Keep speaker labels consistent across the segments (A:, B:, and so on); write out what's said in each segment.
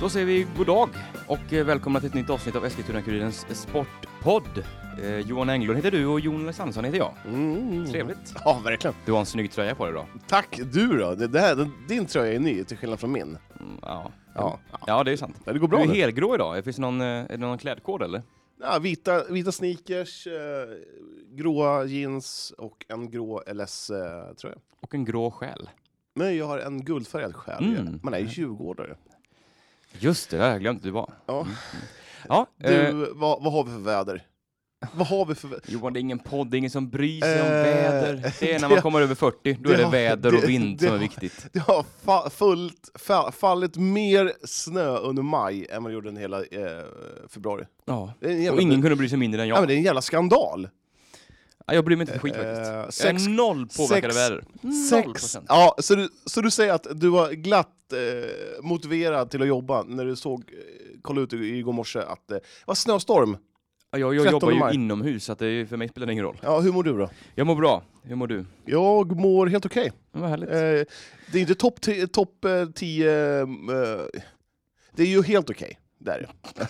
A: Då säger vi god dag och eh, välkomna till ett nytt avsnitt av Eskilstuna-Kurirens sportpodd. Eh, Johan Englund heter du och Jonas Andersson heter jag.
B: Mm.
A: Trevligt.
B: Ja, verkligen.
A: Du har en snygg tröja på dig Mm, idag.
B: Tack! Du då? Det, det här, den- din tröja är ny, till skillnad från min.
A: Mm, ja.
B: Ja,
A: ja, det är sant.
B: ja det går
A: Du
B: bra
A: är
B: nu.
A: helgrå idag. Finns det någon, eh, är det någon klädkod eller?
B: Ja, vita, vita sneakers, eh, gråa jeans och en grå LS-tröja.
A: Och en grå själ.
B: Nej, jag har en guldfärgad själ.
A: Mm.
B: ju. Man är ju djurgårdare.
A: Just det, det har jag glömt du var.
B: Ja.
A: Mm. Ja,
B: Du,
A: eh,
B: vad, vad har vi för väder? Vad har vi för väder?
A: Johan, det är ingen podd, det är ingen som bryr sig om
B: Eh,
A: väder. Det är när man
B: det-
A: kommer över 40, då
B: det
A: är det
B: har-
A: väder och
B: det-
A: vind
B: det
A: som är
B: har-
A: viktigt.
B: Det har fa- fullt, fa- fallit mer snö under maj än vad det gjorde under hela eh, februari.
A: Ja.
B: Det är en jävla,
A: Och ingen kunde bry sig mindre än
B: ja, men
A: jag.
B: det är en jävla skandal!
A: Ja, Jag bryr mig inte ett skit faktiskt.
B: Eh,
A: Jag
B: sex
A: är noll påverkade
B: sex-
A: väder. Noll
B: Sex.
A: procent.
B: Ja, så, du, så du säger att du var glatt eh, motiverad till att jobba när du såg, eh, kollade ut i- igår morse att eh, det var snöstorm.
A: Ja, Jag, jag
B: 13
A: jobbar ju
B: maj.
A: inomhus, så att det, är- för mig spelar det ingen roll.
B: Ja, hur mår du då?
A: Jag mår bra. Hur mår du?
B: Jag mår helt okej.
A: Ja, Vad härligt.
B: Eh, det är inte topp ti- topp, eh, 10... eh, det är ju helt okej. Där. Eh.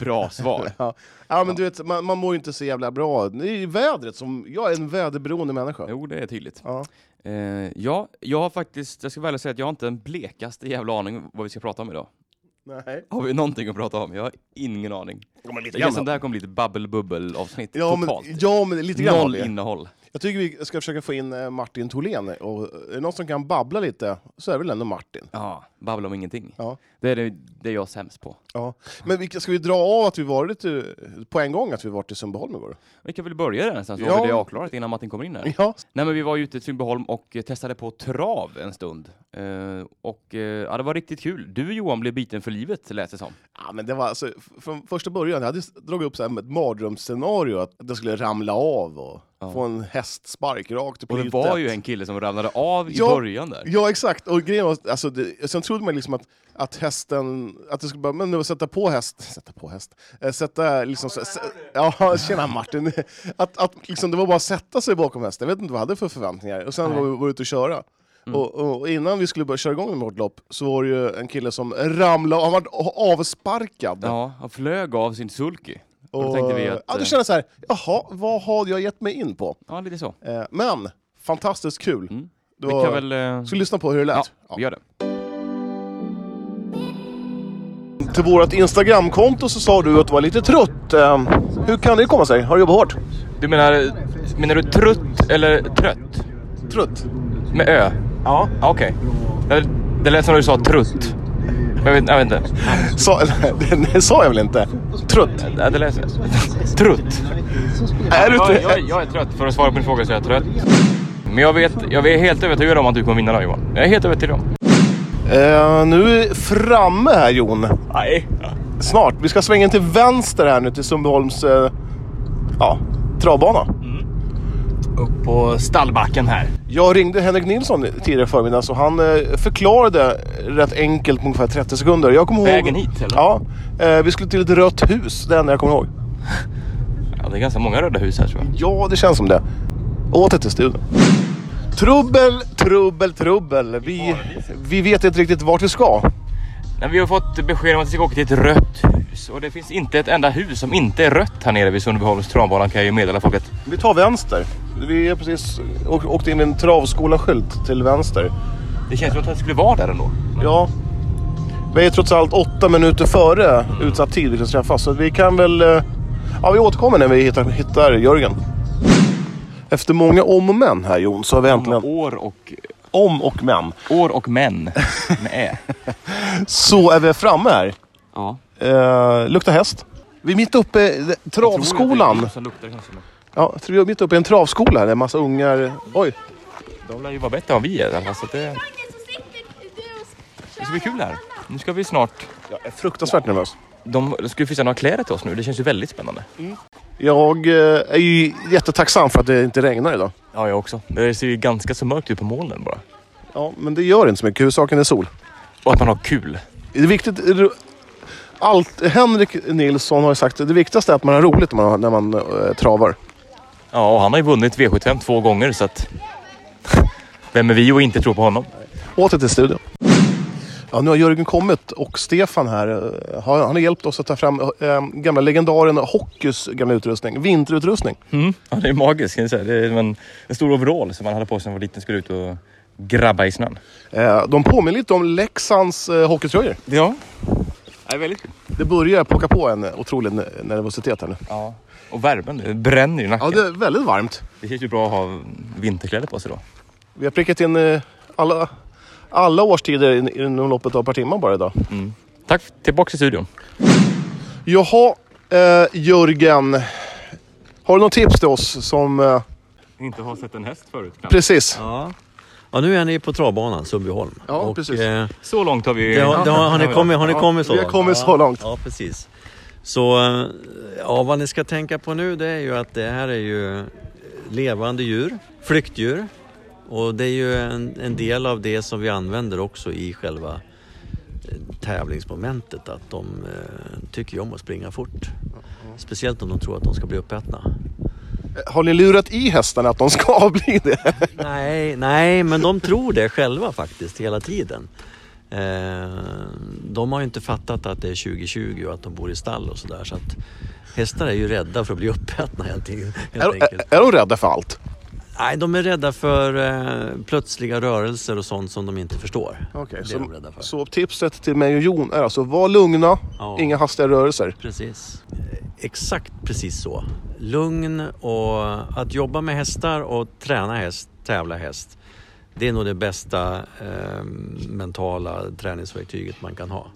A: Bra svar.
B: Ja. ja, men du vet, man, man mår ju inte så jävla bra. Det är ju vädret som... Jag är en väderberoende människa.
A: Jo, det är tydligt.
B: Ja.
A: Eh, ja, jag har faktiskt, jag ska väl säga att jag har inte den blekaste jävla aning om vad vi ska prata om idag.
B: Nej.
A: Har vi någonting att prata om? Jag har ingen aning.
B: Ja, men lite
A: Det känns som
B: grann.
A: det här kommer bli ett babbel-bubbel-avsnitt
B: Ja,
A: totalt.
B: men, ja, men lite grann. har
A: Noll
B: vi.
A: innehåll.
B: Jag tycker vi ska försöka få in eh, Martin Tholén. Och eh, är det någon som kan babbla lite så är det väl ändå Martin.
A: Ja, babbla om ingenting.
B: Ja.
A: Det är det, det är jag sämst på.
B: Ja. Men vi, ska vi dra av att vi varit eh, på en gång att vi varit i Sundbyholm igår?
A: Vi kan väl börja där nästan, så
B: Ja.
A: har vi det avklarat innan Martin kommer in här.
B: Ja.
A: Nej men vi var ju ute i Sundbyholm och eh, testade på trav en stund. Eh, och eh, ja, det var riktigt kul. Du Johan blev biten för livet lät det som.
B: ja men det var alltså, f- från första början, jag hade s- dragit upp så här ett mardrömsscenario att det skulle ramla av och
A: Ja.
B: få en hästspark rakt i
A: Och det
B: plytet.
A: var ju en kille som ramlade av i
B: Ja.
A: början där.
B: Ja exakt, och grejen var, alltså, det, sen trodde man liksom att, att hästen, att det skulle bara, men det var sätta på häst, sätta på häst, eh, sätta liksom, så- s- ja tjena Martin, att, att liksom, det var bara att sätta sig bakom hästen, jag vet inte vad jag hade för förväntningar, och sen
A: Nej. Mm.
B: var vi var ute och köra. Och, och, och innan vi skulle börja köra igång med vårt lopp så var det ju en kille som ramlade, han var avsparkad.
A: Ja, han flög av sin sulky. Och då
B: och,
A: tänkte vi att...
B: ja, då
A: eh,
B: kände jag så här, jaha, vad har jag gett mig in på?
A: Ja, lite så.
B: Eh, men, fantastiskt kul.
A: Mm.
B: Det
A: Vi
B: var-
A: kan väl... eh,
B: Ska vi lyssna på hur det lät?
A: Ja,
B: Ja.
A: vi gör det.
B: Till vårt Instagramkonto så sa du att du var lite trött. Ehm, Hur kan det komma sig? Har du jobbat hårt?
A: Du menar... Menar du trutt eller trött?
B: Trött?
A: Med ö?
B: Ja.
A: Ja, okej. Det, det lät som du sa trutt. Jag vet, jag vet inte.
B: Sa, nej, det sa jag väl inte? Trött?
A: Ja, Det lät... Trutt.
B: Är du
A: Jag, jag,
B: trött?
A: jag är trött. För att svara på din fråga så är jag trött. Men jag vet, jag är helt övertygad om att du kommer vinna idag Johan. Jag är helt övertygad om.
B: Eh, nu är vi framme här Jon.
A: Nej.
B: Snart. Vi ska svänga in till vänster här nu till Sundbyholms eh, ja, travbana.
A: Upp på stallbacken här.
B: Jag ringde Henrik Nilsson tidigare i förmiddags och han eh, förklarade rätt enkelt på ungefär 30 sekunder. Jag kommer ihåg,
A: Vägen hit, eller?
B: Ja. eh, vi skulle till ett rött hus, det enda jag kommer ihåg.
A: Ja, det är ganska många röda hus här tror jag.
B: Ja, det känns som det. Åter till studion. Trubbel, trubbel, trubbel. Vi, vi vet inte riktigt vart vi ska.
A: Nej, vi har fått besked om att vi ska åka till ett rött hus och det finns inte ett enda hus som inte är rött här nere vid Sundbyholms travbana kan jag ju meddela folket.
B: Vi tar vänster. Vi har precis å- åkt in i en travskola-skylt till vänster.
A: Det känns som att det skulle vara där ändå.
B: Ja, vi är trots allt åtta minuter före utsatt tid vi ska träffas. Så vi kan väl... eh, Ja, vi återkommer när vi hittar, hittar Jörgen. Efter många om och men här Jon, så har vi äntligen...
A: År och,
B: Om och men.
A: år och män med ä.
B: Så är vi framme här.
A: Ja.
B: Eh, lukta häst. Vi är mitt uppe i travskolan.
A: Som luktar kanske. men
B: Ja, jag tror vi är mitt uppe i en travskola här. Det är en massa ungar. Oj,
A: De lär ju vara bättre än vi är i alla fall, så att det, det ska bli kul här. Nu ska vi snart...
B: jag är fruktansvärt nervös.
A: De de ska ju fixa några kläder till oss nu. Det känns ju väldigt spännande.
B: Jag eh, är ju jättetacksam för att det inte regnar idag.
A: Ja, jag också. Det ser ju ganska så mörkt ut på molnen bara.
B: Ja, men det gör inte så mycket. Huvudsaken är sol.
A: Och att man har kul.
B: Det är viktigt... Allt, Henrik Nilsson har ju sagt att det viktigaste är att man har roligt när man, när man eh, travar.
C: Ja, och han har ju vunnit V75 två gånger så att... Vem är vi och inte tro på honom?
B: Åter till studion. Ja, nu har Jörgen kommit och Stefan här, eh, har- han har hjälpt oss att ta fram eh, gamla legendaren Hockeys gamla utrustning, vinterutrustning.
C: Ja, det är magiskt kan jag säga. Det är en, en stor overall som man hade på sig när man var liten och skulle ut och grabba i snön.
B: Eh, de påminner lite om Leksands eh, hockeytröjor.
C: Ja.
A: Det är väldigt kul.
B: Det börjar plocka på en eh, otrolig ne- nervositet här nu.
C: ja. Och värmen, det bränner ju i nacken.
B: Ja, det
C: det...
B: är väldigt varmt.
C: känns ju bra att ha vinterkläder på sig då.
B: Vi har prickat in eh, alla, alla årstider in- inom loppet av ett par timmar bara idag.
C: Tack, tillbaka till studion.
B: Jaha, eh, Jörgen. Har du något tips till oss som... Eh,
C: Inte har sett en häst förut
B: precis.
D: Ja. ja, nu är ni på travbanan, Sundbyholm.
B: Ja, precis.
D: Eh,
C: Så långt har vi...
D: det har, det har, har, ni kommit, har ni kommit så
B: vi har
D: långt?
B: kommit så långt.
D: Ja, precis. Så eh, ja, vad ni ska tänka på nu det är ju att det här är ju eh, levande djur, flyktdjur. Och det är ju en, en del av det som vi använder också i själva eh, tävlingsmomentet. Att de eh, tycker ju om att springa fort. Speciellt om de tror att de ska bli uppätna.
B: Har ni lurat i hästarna att de ska bli det?
D: Nej, nej, men de tror det själva faktiskt hela tiden. Eh, de har ju inte fattat att det är 2020 och att de bor i stall och sådär. Så att hästar är ju rädda för att bli uppätna helt, en- helt
B: Är, är,
D: enkelt.
B: är de rädda för allt?
D: Nej, de är rädda för eh, plötsliga rörelser och sånt som de inte förstår.
B: Okej,
D: det
B: så,
D: är de rädda för.
B: så tipset till mig och Jon är alltså var lugna,
D: Ja.
B: inga hastiga rörelser.
D: Precis. Eh, Exakt precis så. Lugn och att jobba med hästar och träna häst, tävla häst. Det är nog det bästa eh, mentala träningsverktyget man kan ha.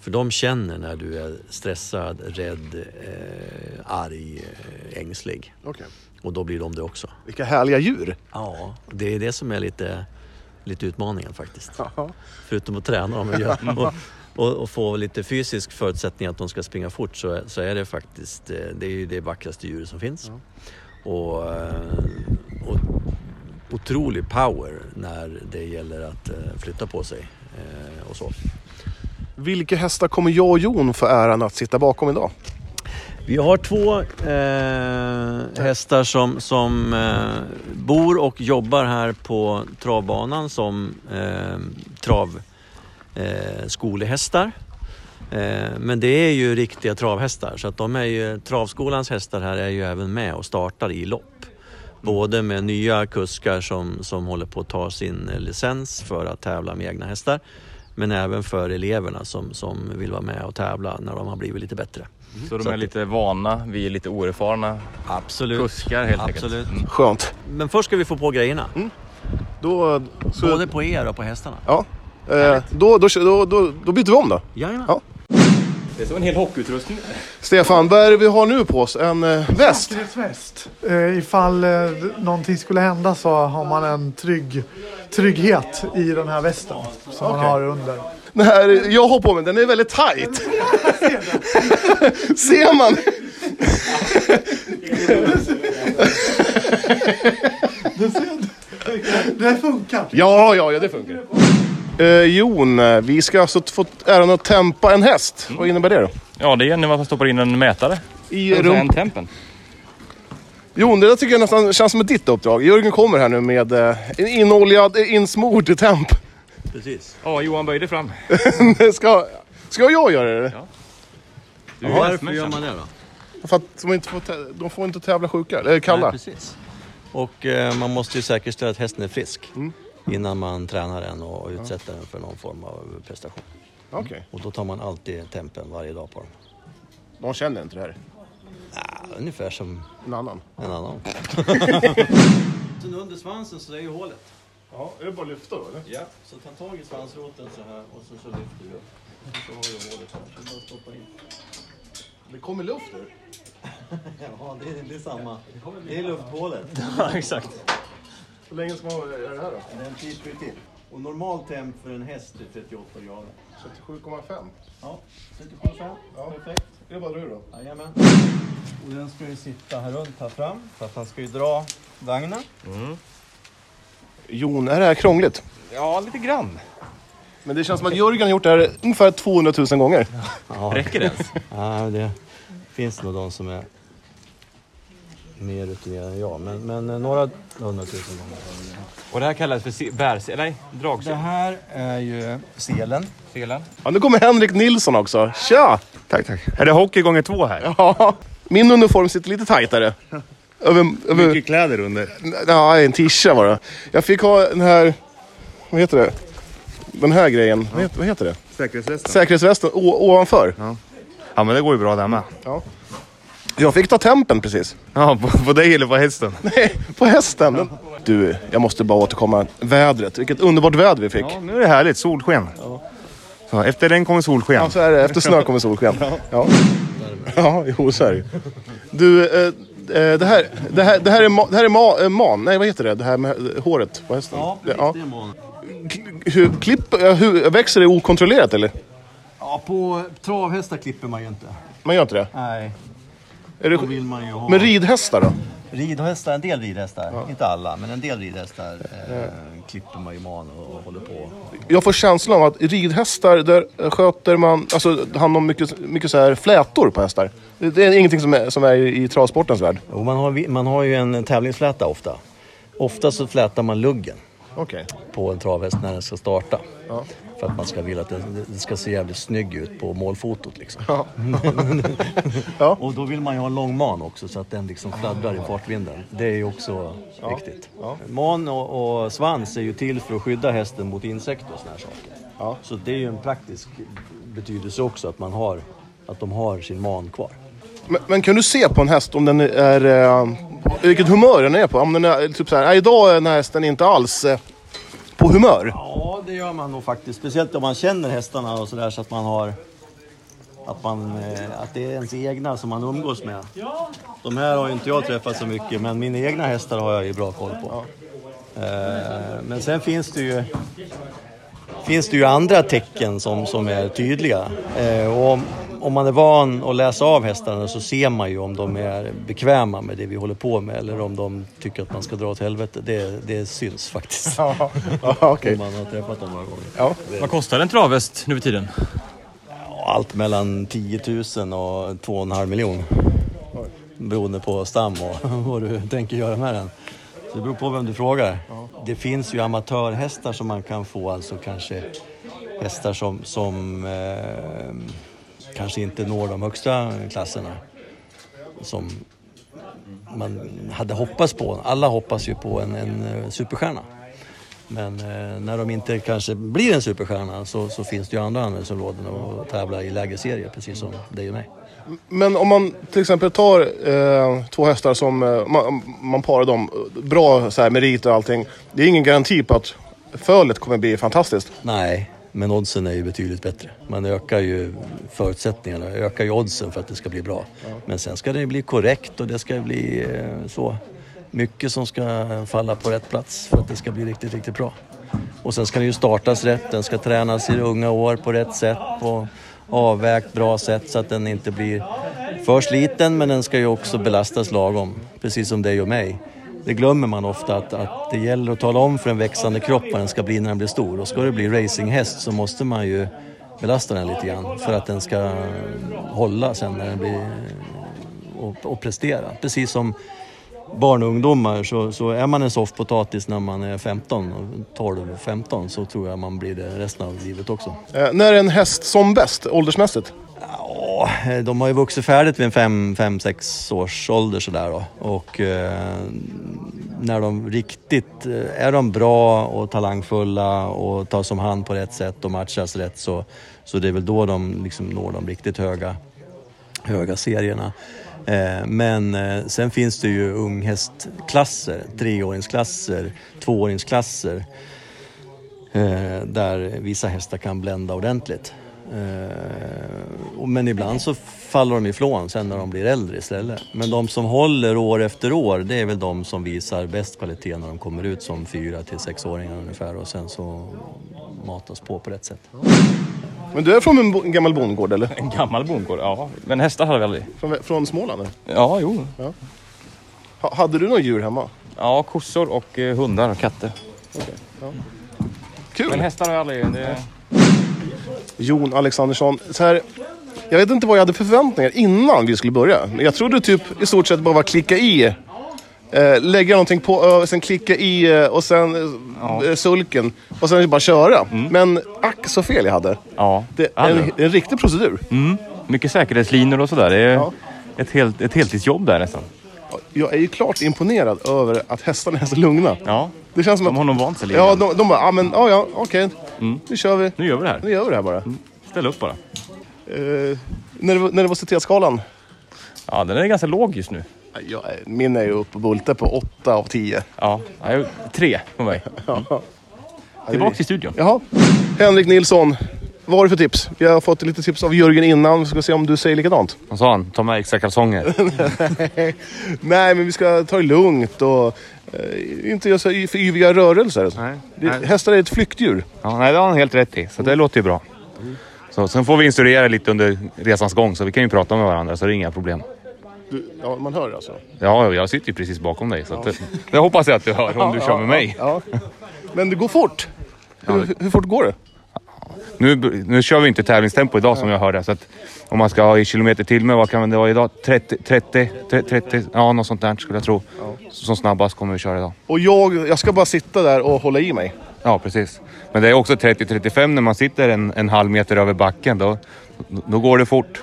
D: För de känner när du är stressad, rädd, eh, arg, eh, ängslig.
B: Okay.
D: Och då blir de det också.
B: Vilka härliga djur!
D: Ja, det är det som är lite, lite utmaningen faktiskt. Förutom att träna dem och, göra- och, och, och få lite fysisk förutsättning att de ska springa fort så, så är det faktiskt eh, det, är ju det vackraste djuret som finns. Och, eh, och otrolig power när det gäller att eh, flytta på sig. eh, Och så.
B: Vilka hästar kommer jag och Jon få äran att sitta bakom idag?
D: Vi har två eh, hästar som, som eh, bor och jobbar här på travbanan som eh, travskolehästar. Eh, men det är ju riktiga travhästar så att de är ju, travskolans hästar här är ju även med och startar i lopp. Både med nya kuskar som, som håller på att ta sin eh, licens för att tävla med egna hästar men även för eleverna som, som vill vara med och tävla när de har blivit lite bättre.
C: Så de är lite vana, vi är lite oerfarna.
D: Absolut.
C: Kuskar helt enkelt. Mm.
D: Absolut.
B: Skönt.
D: Men först ska vi få på grejerna.
B: Mm. Då, så,
D: Både på er och på hästarna.
B: ja, eh, då, då, då, då, då byter vi om då.
D: Jajamän.
B: Ja.
C: Det är som en hel hockeyutrustning.
B: Stefan, vad är det vi har nu på oss? En eh, väst?
E: Säkerhetsväst. Eh, ifall eh, någonting skulle hända så har man en trygg, trygghet i den här västen som man har under.
B: Den här jag har på mig, den är väldigt tight. Ser man?
E: Det funkar.
B: Ja, ja, ja, det funkar. Eh, Jon, eh, vi ska alltså t- få äran att tempa en häst. Vad innebär det då?
C: Ja, det är när man stoppar in en mätare.
B: I
C: Alltså
B: rum...
C: en tempen.
B: Jon, det där tycker jag nästan känns som ett ditt uppdrag. Jörgen kommer här nu med eh, en inoljad, eh, insmord temp.
D: Precis.
C: Ja, Johan böjde fram.
B: ska, ska jag göra det?
C: Du är
D: Varför
C: hästmästaren.
D: gör man det då?
B: För att de, inte får tä- de får inte tävla sjuka, eller kalla.
D: Nej, precis. Och eh, man måste ju säkerställa att hästen är frisk
B: Mm.
D: innan man tränar den och utsätter den för någon form av prestation.
B: Okej,
D: Och då tar man alltid tempen varje dag på dem.
B: de känner inte det här.
D: Ah, ungefär som
B: En annan.
D: en annan. Under svansen så är ju hålet.
B: Ja, är det bara att lyfta då eller?
D: Ja. Så ta tag i svansroten så här och så, så lyfter du upp. Så har du hålet här. Så bara stoppa in.
B: Det kommer luft nu.
D: Ja, det är, det är samma. Det är lufthålet.
B: Hur länge ska man göra det här då?
D: Det är en tid till. Och normal temp för en häst är 38 grader.
B: 37,5.
D: Ja, 37,5.
B: Ja.
D: Perfekt.
B: Det är bara du då.
D: Jajamän. Och den ska ju sitta här runt här fram. Så att han ska ju dra vagnen.
B: Jon, är det här krångligt?
C: Ja, lite grann.
B: Men det känns som att Jörgen har gjort det här ungefär 200 000 gånger.
D: Ja,
C: Räcker det ens?
D: ja, det finns nog de som är mer rutinerad än jag. Men, men eh, några hundratusen gånger.
C: Och det här kallas för se- bärs... Nej,
F: Det
C: dragsel.
F: här är ju selen.
C: Selen.
B: Ja, nu kommer Henrik Nilsson också. Tja!
G: Tack, tack. Är det hockey gånger två här?
B: Ja, min uniform sitter lite tajtare. Över, över,
G: Mycket kläder under.
B: ja, en tisha var det. Jag fick ha den här... Vad heter det? Den här grejen. Vad heter, vad heter det?
G: Säkerhetsvästen.
B: Säkerhetsvästen å, ovanför.
G: Ja, men det går ju bra där med.
B: Jag fick ta tempen precis.
G: Ja, på, på dig eller på hästen?
B: Nej, på hästen. Den- Du, jag måste bara återkomma. Vädret. Vilket underbart väder vi fick.
G: Ja, nu är det härligt. Solsken. Så, efter den kommer solsken.
B: Ja, så är det. Efter snö kommer solsken. Ja, ja jo, så är det ju. Du, eh, eh, det här, det här, det här är, ma, det här är ma, eh, man. Nej, vad heter det? Det här med eh, håret på hästen. Det- ja. K- Hur, klipp, eh, hur, växer det okontrollerat eller?
F: Ja, på travhästar klipper man ju inte.
B: Man gör inte det?
F: Nej,
B: Är
F: då vill
B: det
F: man ju ha...
B: men ridhästar då?
F: Ridhästar, en del ridhästar, inte alla, men en del ridhästar eh, klipper man ju man och, och håller på.
B: Jag får känslan av att ridhästar, där eh, sköter man alltså, hand om mycket, mycket så här flätor på hästar. Det- Det är ingenting som är, som är i travsportens värld.
D: Jo, man, har, vi- man har ju en tävlingsfläta ofta. Ofta så flätar man luggen
B: Okej.
D: på en travhäst när den ska starta. För att man ska vilja att den, den ska se jävligt snygg ut på målfotot liksom.
B: Ja.
D: Och då vill man ju ha en lång man också så att den liksom fladdrar i fartvinden. Det är ju också viktigt. Man och, och svans är ju till för att skydda hästen mot insekter och såna här saker. Så det är ju en praktisk betydelse också att man har, att de har sin man kvar.
B: Men, men kan du se på en häst om den är... Eh, vilket humör den är på? Om den är typ så här, "Nej, idag är den här hästen inte alls eh, på humör.
D: Ja, det gör man nog faktiskt. Speciellt om man känner hästarna och sådär så att man har... Att, man, eh, att det är ens egna som man umgås med. De här har ju inte jag träffat så mycket, men mina egna hästar har jag ju bra koll på. Eh, Men sen finns det ju... Finns det ju andra tecken som, som är tydliga. Eh, och om, om man är van att läsa av hästarna så ser man ju om de är bekväma med det vi håller på med eller om de tycker att man ska dra åt helvete. Det, det syns faktiskt.
B: Ja, okej.
D: Om man har träffat dem några gånger.
C: Vad kostar en travhäst nu för tiden?
D: Ja, Allt mellan 10 000 och 2,5 miljon. Beroende på stam och vad du tänker göra med den. Så det beror på vem du frågar. Det finns ju amatörhästar som man kan få, alltså kanske hästar som, som eh, kanske inte når de högsta klasserna. Som man hade hoppats på. Alla hoppas ju på en, en eh, superstjärna. Men eh, när de inte kanske blir en superstjärna så, så finns det ju andra användningsområden att att tävla i lägre serier, precis som dig och mig.
B: Men om man till exempel tar eh, två hästar som eh, man, man parar dem, eh, bra så här, merit och allting. Det är ingen garanti på att fölet kommer bli fantastiskt.
D: Nej, men oddsen är ju betydligt bättre. Man ökar ju förutsättningarna, ökar ju oddsen för att det ska bli bra. Men sen ska det ju bli korrekt och det ska bli eh, så mycket som ska falla på rätt plats för att det ska bli riktigt, riktigt bra. Och sen ska det ju startas rätt, den ska tränas i unga år på rätt sätt, på avvägt bra sätt så att den inte blir för sliten men den ska ju också belastas lagom, precis som dig och mig. Det glömmer man ofta att, att det gäller att tala om för en växande kropp vad den ska bli när den blir stor. Och ska det bli racinghäst så måste man ju belasta den lite grann för att den ska hålla sen när den blir och, och prestera. Precis som barn och ungdomar så, så är man en soffpotatis när man är 15, 12, 15 så tror jag man blir det resten av livet också.
B: Eh, när är en häst som bäst åldersmässigt?
D: Ja, de har ju vuxit färdigt vid en fem, fem, sex års ålder sådär då. Och eh, när de riktigt, eh, är de bra och talangfulla och tas om hand på rätt sätt och matchas rätt så, så det är väl då de liksom når de riktigt höga, höga serierna. Eh, men eh, sen finns det ju unghästklasser, treåringsklasser, tvååringsklasser eh, där vissa hästar kan blända ordentligt. Eh, och- Men ibland så faller de ifrån sen när de blir äldre istället. Men de som håller år efter år, det är väl de som visar bäst kvalitet när de kommer ut som fyra till sexåringar ungefär och sen så matas på på rätt sätt.
B: Men du är från en bo- en gammal bondgård eller?
C: En gammal bondgård, ja. Men hästar hade vi aldrig.
B: Från, från Småland? Eller?
C: Ja, jo.
B: Ha, hade du några djur hemma?
C: Ja, kossor och eh, hundar och katter.
B: Kul!
C: Men hästar har jag aldrig. Det...
B: Jon Alexandersson. Så här, jag vet inte vad jag hade för förväntningar innan vi skulle börja. Jag trodde typ i stort sett bara var klicka i eh, lägga någonting på, ö, sen klicka i eh, och sen eh, eh, sulken. Och sen bara köra. Men ack så fel jag hade.
A: Ja,
B: Det är
A: Mm. hade
B: en, en riktig procedur.
A: Mm. Mycket säkerhetslinor och sådär. Det är ett, helt, ett heltidsjobb där nästan.
B: Jag är ju klart imponerad över att hästarna är så lugna.
A: Ja,
B: Det känns som
A: de
B: att...
A: har nog Mm. vant sig lite.
B: Ja, de, de bara, ah, men, ah, ja, okej. Nu kör vi.
A: Nu gör vi det
B: Nu
A: här.
B: gör vi det här bara.
A: Ställ upp bara.
B: Eh, nerv- nervositetsskalan?
A: Ja, den är ganska låg just nu.
B: Jag, min är ju uppe och bultar på 8 av 10.
A: Ja, jag, tre på mig. Tillbaka till studion.
B: Jaha. Henrik Nilsson, vad har du för tips? Vi har fått lite tips av Jörgen innan. Vi ska se om du säger likadant.
G: Vad sa han? Ta med extra kalsonger.
B: Nej, men vi ska ta det lugnt och eh, inte göra så y- för yviga rörelser.
G: Nej.
B: Det,
G: Nej.
B: hästar är ett flyktdjur.
G: Ja, nej, det har han helt rätt i. Så
B: Mm.
G: det låter ju bra. Så, sen får vi instruera lite under resans gång så vi kan ju prata med varandra så det är inga problem.
B: Du, ja, man hör alltså.
G: Ja, jag sitter ju precis bakom dig så att, det, det hoppas jag att du hör om du kör med mig.
B: Ja. Men det går fort. Hur, hur fort går det?
G: Nu, nu kör vi inte tävlingstempo idag som jag hörde. Så att om man ska ha i kilometer till med, vad kan det vara idag? 30, 30, 30, ja något sånt där skulle jag tro. Som snabbast kommer vi köra idag.
B: Och jag, jag ska bara sitta där och hålla i mig.
G: Ja, precis. Men det är också 30-35 när man sitter en, en halv meter över backen. Då, då går det fort.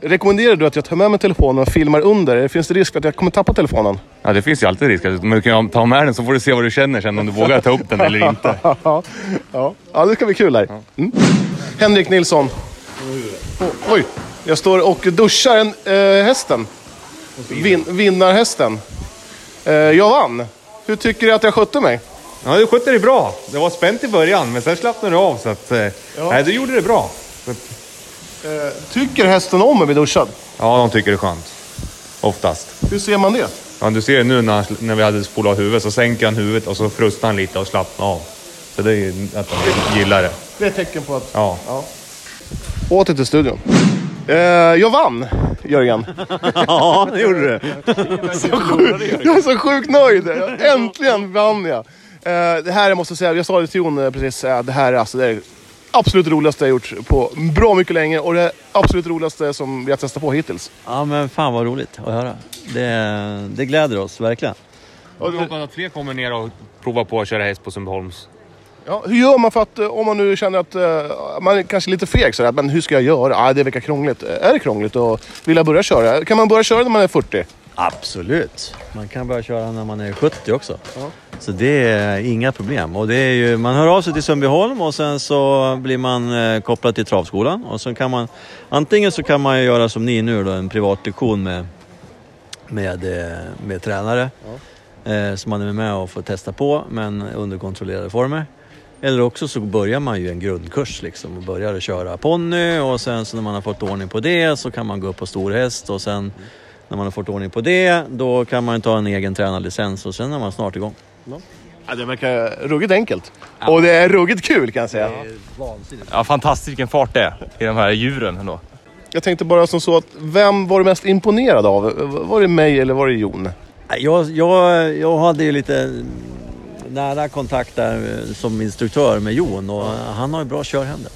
B: Rekommenderar du att jag tar med mig telefonen och filmar under? Finns det risk att jag kommer tappa telefonen?
G: Ja, det finns ju alltid risk. Men du kan ju ta med den så får du se vad du känner sen om du vågar ta upp den eller inte.
B: Ja, ja. ja det ska bli kul här. Mm. Henrik Nilsson. Oh, oj, jag står och duschar en, eh, hästen. Vin, vinnarhästen. Eh, jag vann. Hur tycker du att jag skötte mig?
G: Ja, du skötte dig bra. Det var spänt i början, men sen slappnade du av. Så att, eh, Nej, du gjorde det bra.
B: Tycker hästen om att bli duschad?
G: Ja, de tycker det är skönt. Oftast.
B: Hur ser man det?
G: Ja, du ser ju nu när, han sl- när vi hade spolat huvudet så sänker han huvudet och så frustar han lite och slappnar av. Så det är ju att han gillar det.
B: Det är ett tecken på att...
G: Ja.
B: Åter till studion. Eh, jag vann, Jörgen.
D: Ja, det gjorde du.
B: Jag är så sjukt nöjd. Äntligen vann jag. Eh, det här jag måste säga, jag sa det till Jon eh, precis, eh, det här är alltså det är absolut roligaste jag gjort på bra mycket länge och det absolut roligaste som vi har testat på hittills.
D: Ja, men fan vad roligt att höra. Det, det gläder oss verkligen.
G: Jag hoppas att fler kommer ner och provar på att köra häst på Sundbyholms.
B: Ja, hur gör man för att, eh, om man nu känner att eh, man är kanske lite feg sådär, men hur ska jag göra? Ah, det verkar krångligt. Eh, Är det krångligt att vilja börja köra? Kan man börja köra när man är 40?
D: Absolut. Man kan börja köra när man är 70 också. Så det är inga problem. Och det är ju, man hör av sig till Sundbyholm och sen så blir man eh, kopplad till travskolan. Och så kan man, antingen så kan man ju göra som ni nu då, en privatlektion med, med, eh, med tränare. Eh, som man är med och får testa på, men under kontrollerade former. Eller också så börjar man ju en grundkurs liksom och börjar att köra ponny och sen så när man har fått ordning på det så kan man gå upp på storhäst och sen när man har fått ordning på det då kan man ta en egen tränarlicens och sen är man snart igång.
B: Ja, det verkar ruggigt enkelt. Och det är ruggigt kul kan jag säga.
A: Ja, fantastiskt vilken fart det är i de här djuren ändå.
B: Jag tänkte bara som så att, vem var du mest imponerad av? Var det mig eller var det Jon?
D: Jag, jag, jag hade ju lite nära kontakt där eh, som instruktör med Jon och han har ju bra körhänder.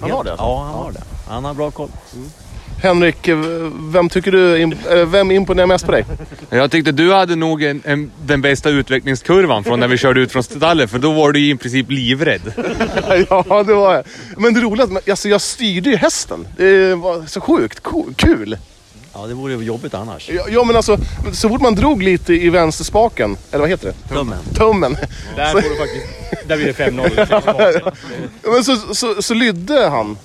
B: Han har det alltså?
D: Ja, han har det. Mm. Han har bra koll.
B: Henrik, eh, vem tycker du imp- eh, vem imponerar mest på dig?
G: Jag tyckte du hade nog en, en, den bästa utvecklingskurvan från när vi körde ut från stallet. För då var du ju i princip livrädd.
B: ja, det var jag. Men det roliga är att man- alltså, jag styrde ju hästen. Det var så sjukt ko- kul.
D: Ja, det vore ju jobbigt annars.
B: Ja, ja, men alltså så fort man drog lite i vänsterspaken, eller vad heter det?
D: Tummen.
B: Tummen.
A: Där får du faktiskt... Där blir det 5-0.
B: Men så, så, så lydde han.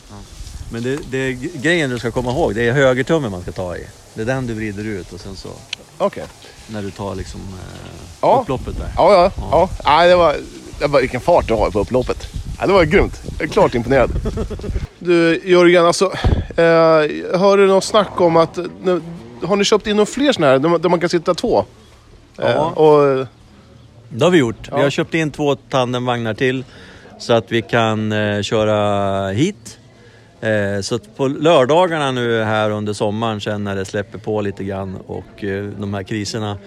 D: Men det, det, grejen du ska komma ihåg, det är högertummen man ska ta i. Det är den du vrider ut och sen så
B: Okej.
D: när du tar liksom eh,
B: Ja.
D: upploppet där.
B: Ja, ja. ja. Nej, det var, det var, vilken fart du har på upploppet. Ja, det var grymt. Jag är klart imponerad. Du, Jörgen, alltså. Eh, hör du något snack om att... nu- Har ni köpt in några fler sådana här där man- där man kan sitta två? Eh,
D: Ja.
B: och,
D: Det har vi gjort. Vi har köpt in två tandemvagnar till så att vi kan eh, köra hit. Eh, så att på lördagarna nu här under sommaren sen när det släpper på lite grann och eh, de här kriserna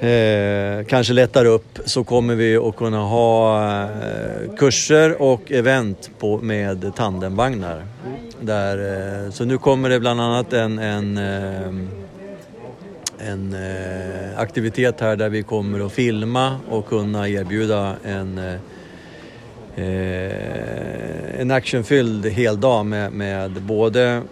D: eh, kanske lättar upp så kommer vi att kunna ha eh, kurser och event på, med tandemvagnar. Där, eh, så nu kommer det bland annat en, en eh, en eh, aktivitet här där vi kommer att filma och kunna erbjuda en eh, eh, en actionfylld hel dag med, med både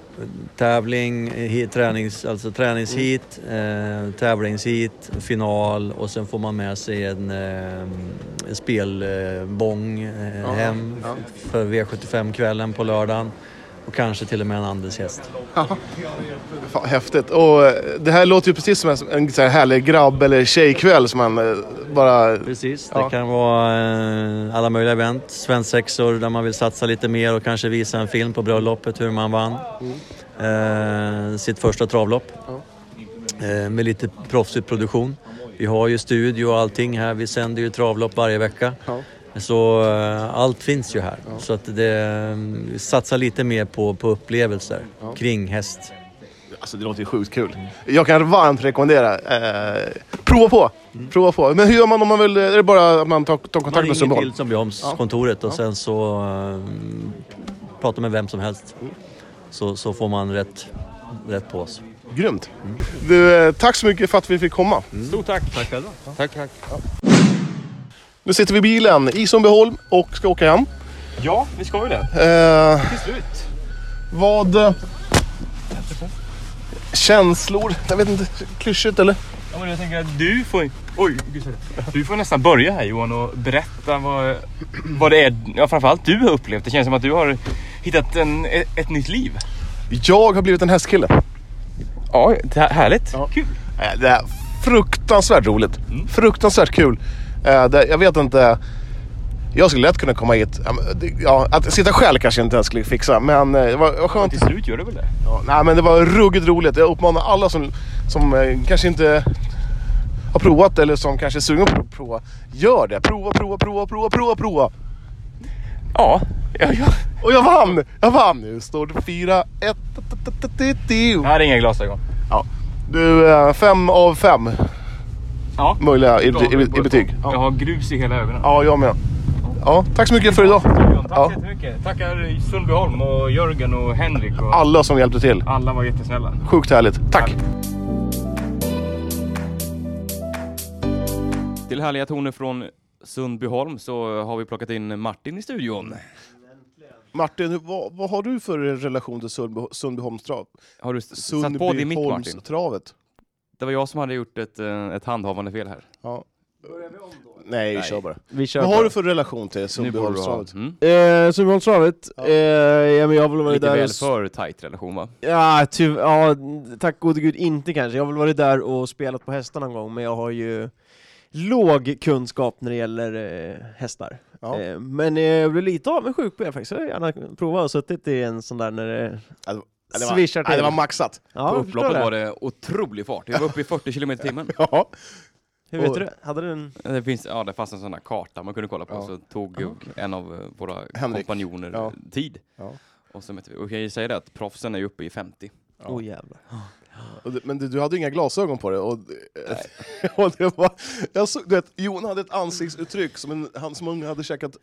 D: tävling, hit, tränings, alltså träningshit, eh, tävlingshit, final och sen får man med sig en, eh, en spelbong eh, hem för V75-kvällen på lördagen och kanske till och med en andelshäst.
B: Fan, häftigt. Och eh, det här låter ju precis som en, en så här härlig grabb eller tjejkväll som man eh, bara...
D: Precis,
B: Ja.
D: det kan vara eh, alla möjliga event. Svensexor där man vill satsa lite mer och kanske visa en film på bröllopet hur man vann eh, sitt första travlopp. Eh, med lite proffsig produktion. Vi har ju studio och allting här. Vi sänder ju travlopp varje vecka. Så eh, allt finns ju här. Så att det, eh, vi satsar lite mer på, på upplevelser kring häst.
B: Alltså det låter ju sjukt kul. Jag kan varmt rekommendera. Eh, prova på! Prova på. Men hur gör man om man vill... Är det bara att Mm. man tar, tar
D: Man
B: kontakt med
D: ringer
B: Sundborg?
D: till Sundbyholmskontoret och sen så eh, pratar med vem som helst.
B: Mm.
D: Så, så får man rätt, rätt på oss.
B: Grymt! Du, eh, tack så mycket för att vi fick komma.
H: Mm. Stort tack! Tack själva. Tack, tack.
B: Nu sitter vi i bilen i Sundbyholm och ska åka hem.
H: Ja, vi ska ju det.
B: Eh,
H: Till slut.
B: vad... eh, Känslor? Jag vet inte. Klyschigt eller?
H: Ja, men jag tänker att du får... Oj, gud, sorry. Du får nästan börja här Johan och berätta vad, vad det är ja, framförallt du har upplevt. Det känns som att du har hittat en, ett nytt liv.
B: Jag har blivit en hästkille.
H: Ja, härligt. Kul.
B: Eh, Det är fruktansvärt roligt.
H: Mm.
B: Fruktansvärt kul. Eh, Det, jag vet inte. Jag skulle lätt kunna komma hit. Ja, men det- Ja, att sitta själv kanske inte ens skulle fixa, men eh, det var, det var skönt.
H: Till slut gör du väl det?
B: Ja, nej, men det var ruggigt roligt. Jag uppmanar alla som, som eh, kanske inte har provat eller som kanske är sugna på att prova. Gör det! Prova, prova, prova, prova, prova, prova!
H: Ja. ja, ja.
B: Och jag vann! Jag vann! Nu står det 4-1.
H: Här är inga glasögon.
B: Ja. Du, eh, fem av fem
H: Ja.
B: möjliga i, i, i betyg.
H: Jag har grus i hela ögonen.
B: Ja, jag med. Ja, tack så mycket för idag.
H: Johan, Tack
B: Ja.
H: så jättemycket. Tackar Sundbyholm och Jörgen och Henrik. Och
B: Alla som hjälpte till.
H: alla var jättesnälla.
B: Sjukt härligt. Tack!
A: Till härliga toner från Sundbyholm så har vi plockat in Martin i studion.
B: Martin, hur- vad, vad har du för relation till Sundby- Sundbyholmstrav?
A: Har du s- satt på din mick Martin?
B: Sundbyholmstravet?
A: Det var jag som hade gjort ett, eh, ett handhavande fel här.
B: Ja. Nej, vi kör bara.
I: Vi kör
B: Vad
I: på.
B: har du för relation till
A: Nu borde du ha
B: Sundbyholmstravet?
A: mm.
I: Eh, Sundbyholmstravet? Ja. Eh, ja, men jag har väl varit
A: lite
I: där...
A: väl
I: och s-
A: för tight relation va?
I: Ja, tyv... ja, tack gode gud inte kanske. Jag har väl varit där och spelat på hästar någon gång, men jag har ju låg kunskap när det gäller eh, hästar.
B: Ja.
I: Eh, men eh, jag blev lite avundsjuk på er faktiskt. Jag har gärna provat och suttit i en sån där när det
B: Ja, det var- ja, det var-
I: svischar till.
B: Nej, det var maxat.
I: ja,
A: På
I: jag förstår
A: upploppet var det otrolig fart. Vi var uppe i 40 km i timmen.
B: Ja.
I: Hur vet du det? Hade du en...
A: Det, finns, ja, det fanns en sån här karta man kunde kolla på,
B: Ja.
A: så tog ju en av eh, våra
B: Henrik.
A: kompanjoner
B: Ja.
A: tid.
B: Ja.
A: Och så mätte vi. Och jag kan ju säga det att proffsen är ju uppe i 50.
I: Åh oh, jävlar.
B: Och du- Men du, du hade ju inga glasögon på dig. Och, och det var, jag såg, du vet, Jon hade ett ansiktsuttryck som en, han som om han hade käkat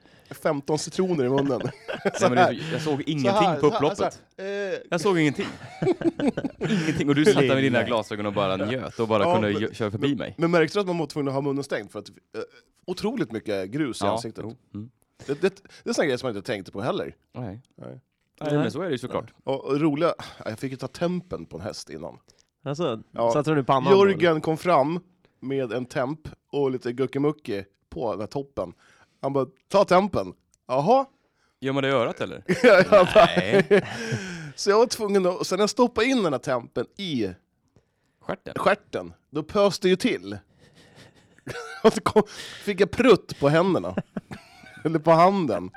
B: 15 citroner i munnen.
A: Nej, men det, jag såg ingenting
B: Så här,
A: på
B: så här,
A: upploppet.
B: så här. Eh,
A: Jag såg ingenting. ingenting. Och du satt där med dina glasögon och bara njöt och bara
B: Ja,
A: kunde
B: men-
A: gö- köra förbi mig.
B: Men märkte du att man var tvungen att ha munnen stängd för att eh, otroligt mycket grus i ansiktet?
A: jo. Mm.
B: Det, det, det är en sån grej som jag inte tänkte på heller.
A: Nej.
B: Nej.
A: Nej. men så är det ju såklart.
B: Och, och roliga, jag fick ju ta tempen på en häst innan.
I: Alltså,
B: Ja.
I: satte du den i pannan? då, eller?
B: Jörgen kom fram med en temp och lite guckimucki på den här toppen. Han bara, ta tempen. Jaha?
A: Gör man det i örat eller?
B: Jag bara-
A: Nej.
B: Så jag var tvungen att, och sen när jag stoppade in den här tempen i
A: Stjärten?
B: stjärten, då pös det ju till. Och så kom, fick jag prutt på händerna. Eller på handen.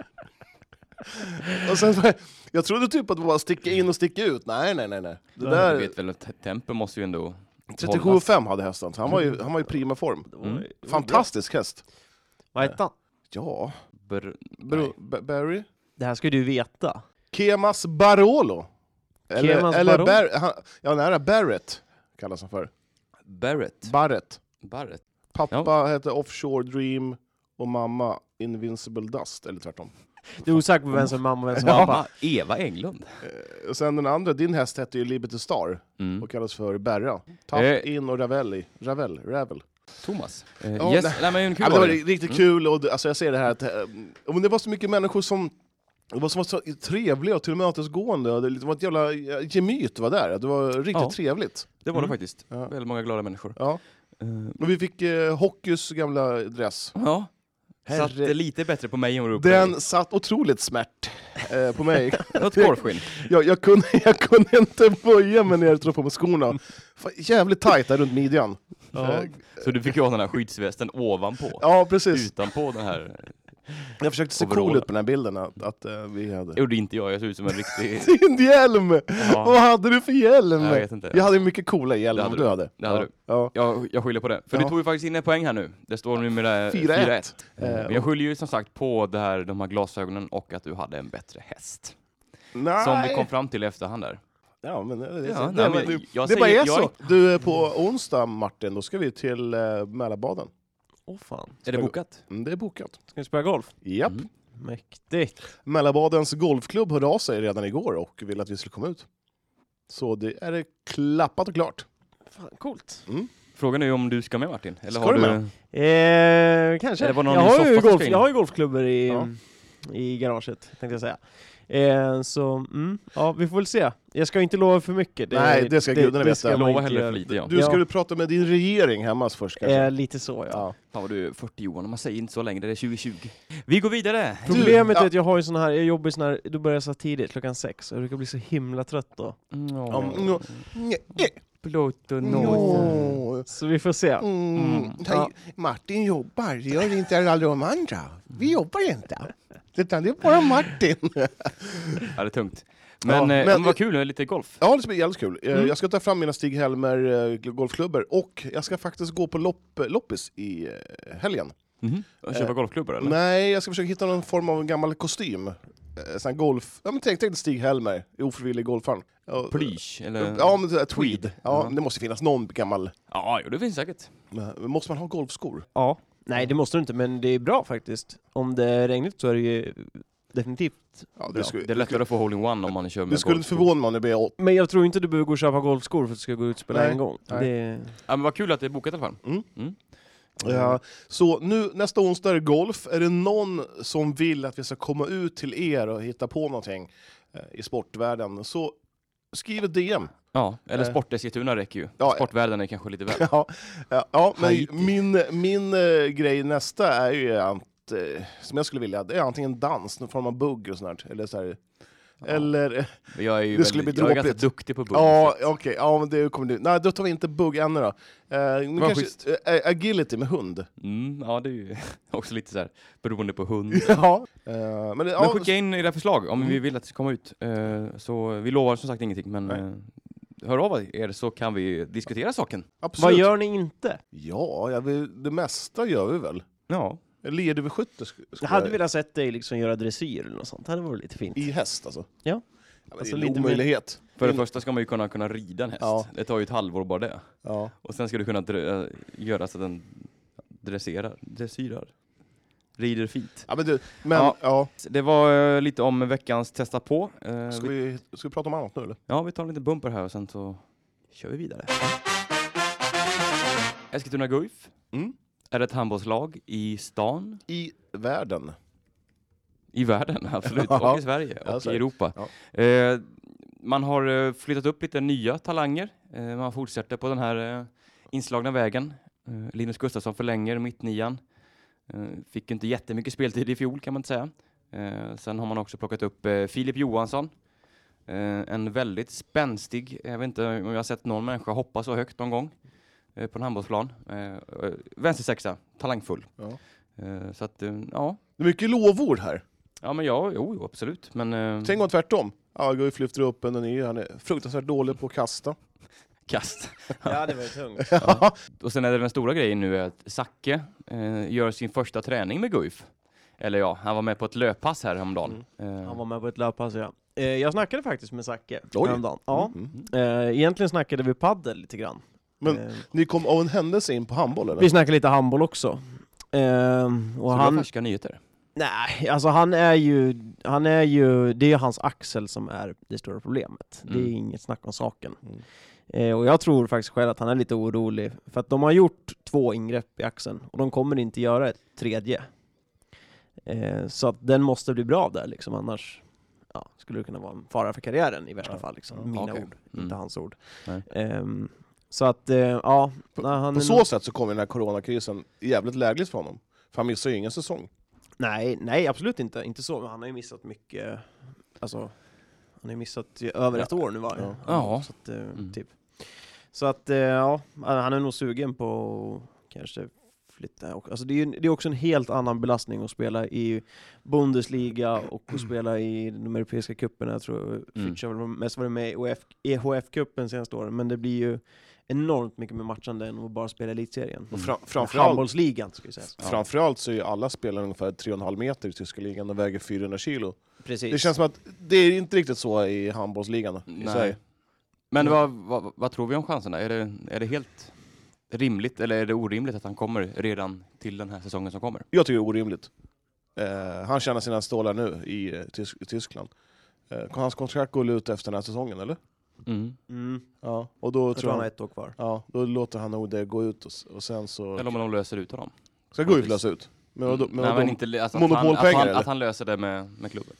B: Och sen, var jag- jag trodde typ att det var att sticka in och sticka ut. Nej, nej, nej. nej. Det
A: Du
B: där,
A: vet väl att te- tempen måste ju ändå
B: 37,5 hade hästen, så han var ju, han var ju prima form.
A: Mm.
B: Fantastisk häst.
I: Vad hette han?
B: Ja,
A: Br-
B: bro, B- Barry?
I: Det här ska du veta.
B: Kemas Barolo. Eller,
I: Kemas
B: eller
I: Barolo?
B: Bar- han, ja, nära Barrett kallas han för.
A: Barrett?
B: Barrett.
A: Barrett?
B: Pappa hette Offshore Dream och mamma Invincible Dust, eller tvärtom.
I: Du är osäker på vem som är mamma och vem som är pappa.
A: Ja, Eva Englund.
B: Eh, Och sen den andra, din häst hette ju Liberty Star
A: Mm.
B: och kallas för Berra. Tapp
A: Eh.
B: in och Ravelli. Ravel, Ravel.
A: Thomas. Eh,
B: Ja,
A: yes,
B: nej.
A: nej. men kul
B: Ja, men det
A: var
B: var
A: det.
B: riktigt kul, och det- alltså jag ser det här att eh, men det var så mycket människor som det var som var så trevliga och tillmötesgående, och det det var ett jävla eh, gemyt var där, det var riktigt
A: Ja.
B: trevligt.
A: Det var det
B: Mm.
A: faktiskt.
B: Ja.
A: Väldigt många glada människor.
B: Ja.
A: Eh,
B: Och vi fick eh, Hockeys gamla dress.
A: ja.
B: Herre-
A: Satt eh, lite bättre på mig än vad du
B: Den satt otroligt smärt eh, på mig.
A: Något korvskinn.
B: jag, jag, kunde, jag kunde inte böja mig när jag drog på mig skorna. Fan, jävligt tajta runt midjan.
A: Ja.
B: Eh,
A: Så du fick ju ha den här skyddsvästen ovanpå.
B: Ja, precis.
A: Utanpå den här.
B: Jag försökte se
A: Overall.
B: cool ut på den här bilden, att, att eh, vi hade...
A: gjorde inte jag, jag såg ut som en riktig...
B: Din hjälm! Vad
A: Ja,
B: hade du för hjälm?
A: jag vet inte.
B: Jag hade mycket coola hjälmar
A: Det
B: än
A: hade
B: vad du hade.
A: Det hade
B: ja.
A: du.
B: Ja.
A: Jag, jag skyller på det. För
B: Ja.
A: du tog ju faktiskt in en poäng här nu. Det står nu med det
B: 4-1. Eh,
A: Men jag skyller ju som sagt på det här, de här glasögonen och att du hade en bättre häst.
B: Nej.
A: Som vi kom fram till i efterhand där.
B: Ja, men Ah, det, det,
A: Ja,
B: det,
A: nej,
B: det,
A: men
B: det,
A: jag
B: bara
A: säger-
B: är så.
A: jag-
B: Du, eh, på onsdag Martin, då ska vi till eh, Mälarbaden.
I: Åh fan.
A: Är det bokat?
B: Mm, det är bokat.
I: Ska ni spela golf?
B: Japp.
A: Mm.
I: Mäktigt.
B: Mällarbadens golfklubb hörde av sig redan igår och ville att vi skulle komma ut. Så det är klappat och klart.
I: Fan, coolt.
A: Frågan är ju om du ska med Martin? Eller
B: Ska
A: har
B: du
A: du...
B: med?
I: Eh, kanske.
A: Eller var någon
I: jag,
A: i
I: har
A: soffan
I: ju
A: som
I: golf,
A: ska in?
I: jag har ju golfklubbor i,
B: Ja.
I: i garaget, tänkte jag säga. Eh, så, mm, ja, vi får väl se. Jag ska inte lova för mycket.
B: Nej, det ska gudarna veta.
I: man
A: Lova
I: inte
A: hellre
I: göra.
A: för lite ja.
B: Du, ska
I: Ja.
B: du prata med din regering hemma först kanske?
I: Eh, lite så, ja.
B: ja.
A: Fan vad du är 40 Johan, man säger inte så längre, det är 2020. Vi går vidare!
I: Problemet
B: ja.
I: är att jag har ju sån här, jag jobbar ju sån här, då börjar jag så här tidigt, klockan sex, och jag brukar bli så himla trött då.
A: Mm,
B: Ja, men- Nå- Nja, eh, nå.
I: Så vi får se.
B: Mm.
I: Ja.
B: Martin jobbar, det gör inte alla de andra.
I: Mm.
B: Vi jobbar inte. Utan det är bara Martin.
A: Ja, det är tungt. Men,
B: Ja,
A: eh,
B: men-
A: men vad kul, det är lite golf.
B: Ja, det ska bli jävligt kul. Eh, Jag ska ta fram mina Stig Helmer eh, golfklubbor och jag ska faktiskt gå på lopp, loppis i eh, helgen.
A: Mhm. Och Köpa
B: Eh,
A: golfklubbor eller?
B: Nej, jag ska försöka hitta någon form av gammal kostym. Eh, Sån här golf... Ja, men tänk dig Stig-Helmer, ofrivillig golfaren. Ja, eh,
A: Plysch eller?
B: Ja, men sån här
A: Eh,
B: tweed.
A: Tweed. Mm.
B: Ja,
A: Ja.
B: Det måste finnas någon gammal...
A: ja jo, det finns säkert.
B: Men Måste man ha golfskor?
I: Ja. Nej, det måste du inte, men det är bra faktiskt. Om det är regnigt så är det ju definitivt.
B: Ja, det,
A: Bra.
B: skulle,
A: det är lättare att få hole-in-one om man kör med
B: det skulle inte
A: golfskor.
B: förvåna mig om det blir åt.
I: Men jag tror inte du behöver gå och köpa golfskor för att du ska gå ut och spela
B: Nej.
I: en gång.
B: Nej.
I: Det...
A: Ja, men vad kul att det är bokat i alla fall.
B: Mm.
A: Mm.
B: Ja, så nu, nästa onsdag är det golf. Är det någon som vill att vi ska komma ut till er och hitta på någonting eh, i sportvärlden så skriv ett DM.
A: Ja, eller
B: Eh.
A: Sporteskilstuna räcker ju.
B: Ja, eh.
A: Sportvärlden är kanske lite väl.
B: Ja, ja, ja men
A: Haiti.
B: min, min eh, grej nästa är ju ant, eh, som jag skulle vilja, det är antingen dans, någon form av bugg och sånt där, eller så här, Eller, eh,
A: Men Jag är ju
B: Det skulle
A: väldigt-
B: bli
A: jag är ganska
B: dråpligt.
A: duktig på bugg.
B: ja okej, ja men det kommer du, nej då tar vi inte bugg ännu då. Eh, men
A: Vad schysst.
B: kanske, eh, agility med hund.
A: Mm, ja, det är ju också lite så här beroende på hund.
B: ja. Eh, men, det-
A: Men
B: ja, Mm.
A: skicka in era förslag om vi vill att det ska komma ut. Eh, Så vi lovar som sagt ingenting, men
B: Nej.
A: eh, hör av er så kan vi diskutera saken.
B: absolut.
I: Vad gör ni inte?
B: Ja, jag vill, det mesta gör vi väl.
A: Ja.
B: Lerduveskytte sk- skulle
I: Jag hade velat sett dig liksom göra dressyr eller något sånt, det hade varit lite fint.
B: I häst alltså?
I: Ja.
B: men
I: Alltså,
B: det är en
I: lite mer-
B: omöjlighet.
A: För det
B: In-
A: första ska man ju kunna, kunna rida en häst.
B: Ja.
A: Det tar ju ett halvår bara det.
B: Ja.
A: Och sen ska du kunna drö- göra så att den dresserar, dressyrar. Rider fint.
B: ja, men du, men ja.
A: Ja. Det var eh, lite om veckans testa på. Eh,
B: Ska, vi, ska vi prata om annat nu eller?
A: Ja, vi tar en liten bumper här och sen så kör vi vidare. Eskilstuna Guif
B: Mm.
A: är ett handbollslag i stan,
B: I världen.
A: i världen absolut,
B: Ja.
A: och i Sverige
B: Ja,
A: och
B: så är
A: i
B: det.
A: Europa. Eh, man har eh, flyttat upp lite nya talanger. Eh, man fortsätter på den här eh, inslagna vägen. Eh, Linus Gustafsson förlänger mittnian. Eh, fick inte jättemycket speltid i fjol kan man inte säga. Eh, sen har man också plockat upp eh, Filip Johansson. Eh, en väldigt spänstig, jag vet inte om jag har sett någon människa hoppa så högt någon gång eh, på en handbollsplan. Eh, eh, vänstersexa, talangfull.
B: Ja.
A: Eh, så att, eh, ja.
B: Det är mycket lovord här.
A: Ja men ja, jo, jo absolut. Men eh,
B: Tänk om tvärtom. Ja, Guif lyfter upp en och ny, han är fruktansvärt dålig på att kasta.
A: kast.
I: Ja, det var ju tungt.
A: Och sen är det den stora grejen nu är att Zacke eh, gör sin första träning med Guif. Eller ja, han var med på ett löppass här häromdagen.
B: Mm.
A: Eh,
I: Han var med på ett löppass ja. Eh, Jag snackade faktiskt med Zacke
B: Oj.
I: häromdagen. Ja.
B: Mm.
I: Eh, Egentligen snackade vi paddel lite grann.
B: Men
I: Eh,
B: ni kom av en händelse in på handboll eller?
I: Vi snackade lite handboll också. Eh, och
A: så han...
I: han,
A: färska nyheter.
I: Nej, alltså han är ju, han är ju, det är hans axel som är det stora problemet. Det är
A: Mm.
I: inget snack om saken.
B: Mm.
I: Eh, och jag tror faktiskt själv att han är lite orolig, för att de har gjort två ingrepp i axeln, och de kommer inte göra ett tredje. Eh, så att den måste bli bra där liksom, annars ja, skulle det kunna vara en fara för karriären i värsta fall. Liksom. Mina
A: Okej.
I: ord,
B: Mm.
I: inte hans ord.
A: Nej.
I: Ehm, så att, eh, ja. nej, han
B: På
I: är
B: så
I: nog-
B: sätt så kommer den här coronakrisen jävligt lägligt för honom. För han missar ju ingen säsong.
I: Nej, nej absolut inte. Inte så, men han har ju missat mycket. Alltså, han har ju missat ju över ett år nu va?
B: Ja.
A: Ja.
I: Så att, eh,
A: Mm.
I: typ. Så att, eh, ja, han är nog sugen på att kanske flytta. Och- Alltså det, är ju, det är också en helt annan belastning att spela i Bundesliga och att spela i de europeiska cuperna. Jag tror Fritsch har väl mest varit med i E EHF-cupen senaste åren, men det blir ju enormt mycket mer matchande än att bara spela i elitserien.
B: Och fra, framförallt,
I: Handbollsligan ska jag säga.
B: framförallt så är ju alla spelare ungefär 3,5 meter i tyska ligan och väger 400 kilo.
I: Precis.
B: Det känns som att det är inte riktigt så i handbollsligan i
A: Nej.
B: Sverige.
A: Men
I: Mm.
A: vad, vad, vad tror vi om chanserna? Är det, är det helt rimligt eller är det orimligt att han kommer redan till den här säsongen som kommer?
B: Jag tycker det är orimligt. Eh, han tjänar sina stålar nu i eh, Tys- Tyskland. Eh, hans kontrakt går ut efter den här säsongen, eller?
I: Mm,
B: Ja. Och då,
I: jag tror han har ett år kvar.
B: Ja, då låter han nog det gå ut och, s- och sen så...
A: Eller om de löser ut honom?
B: Ska gå ut och lösa ut. Men, vadå- men,
A: Nej,
B: vadå?
A: men inte, alltså, att, han, att,
B: monopolpengar,
A: han,
B: eller?
A: att han löser det med, med klubben.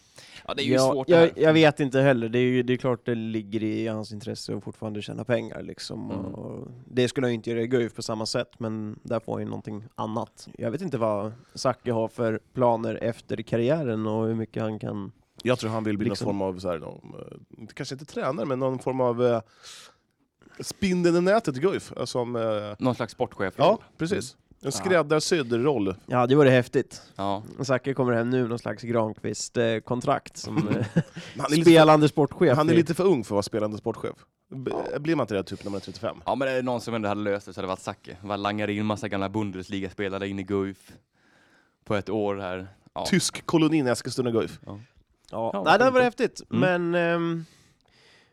A: Ja, det är ju
I: Ja,
A: svårt det
I: jag,
A: här.
I: jag vet inte heller, det är ju det är klart det ligger i hans intresse att fortfarande tjäna pengar liksom.
A: Mm.
I: Och det skulle han ju inte göra i Guif på samma sätt, men där får han ju någonting annat. Jag vet inte vad Zacke har för planer efter karriären och hur mycket han kan...
B: Jag tror han vill bli
I: Liksom.
B: någon form av, så här, någon, eh, inte- kanske inte tränare, men någon form av eh, spindeln i nätet i Guif. eh, Som, eh,
A: Någon slags sportchef?
B: ja, precis. En skräddarsydd roll.
I: Ja, det vore häftigt.
A: ja.
I: Zacke kommer hem nu med någon slags Granqvist-kontrakt som eh,
B: Men Han är, lite,
I: spelande sportchef.
B: han är
I: i.
B: lite för ung för att vara spelande sportchef. B- Blir man inte det typ när man är 35?
A: Ja, men är det någon som ändå hade löst det så hade det varit Zacke. Bara langar in massa gamla Bundesliga-spelare in i Guif på ett år här. Ja.
B: Tysk kolonin Eskilstuna Guif.
I: Ja,
A: Ja, varför
I: Nej, det var
A: inte?
I: häftigt, men ehm,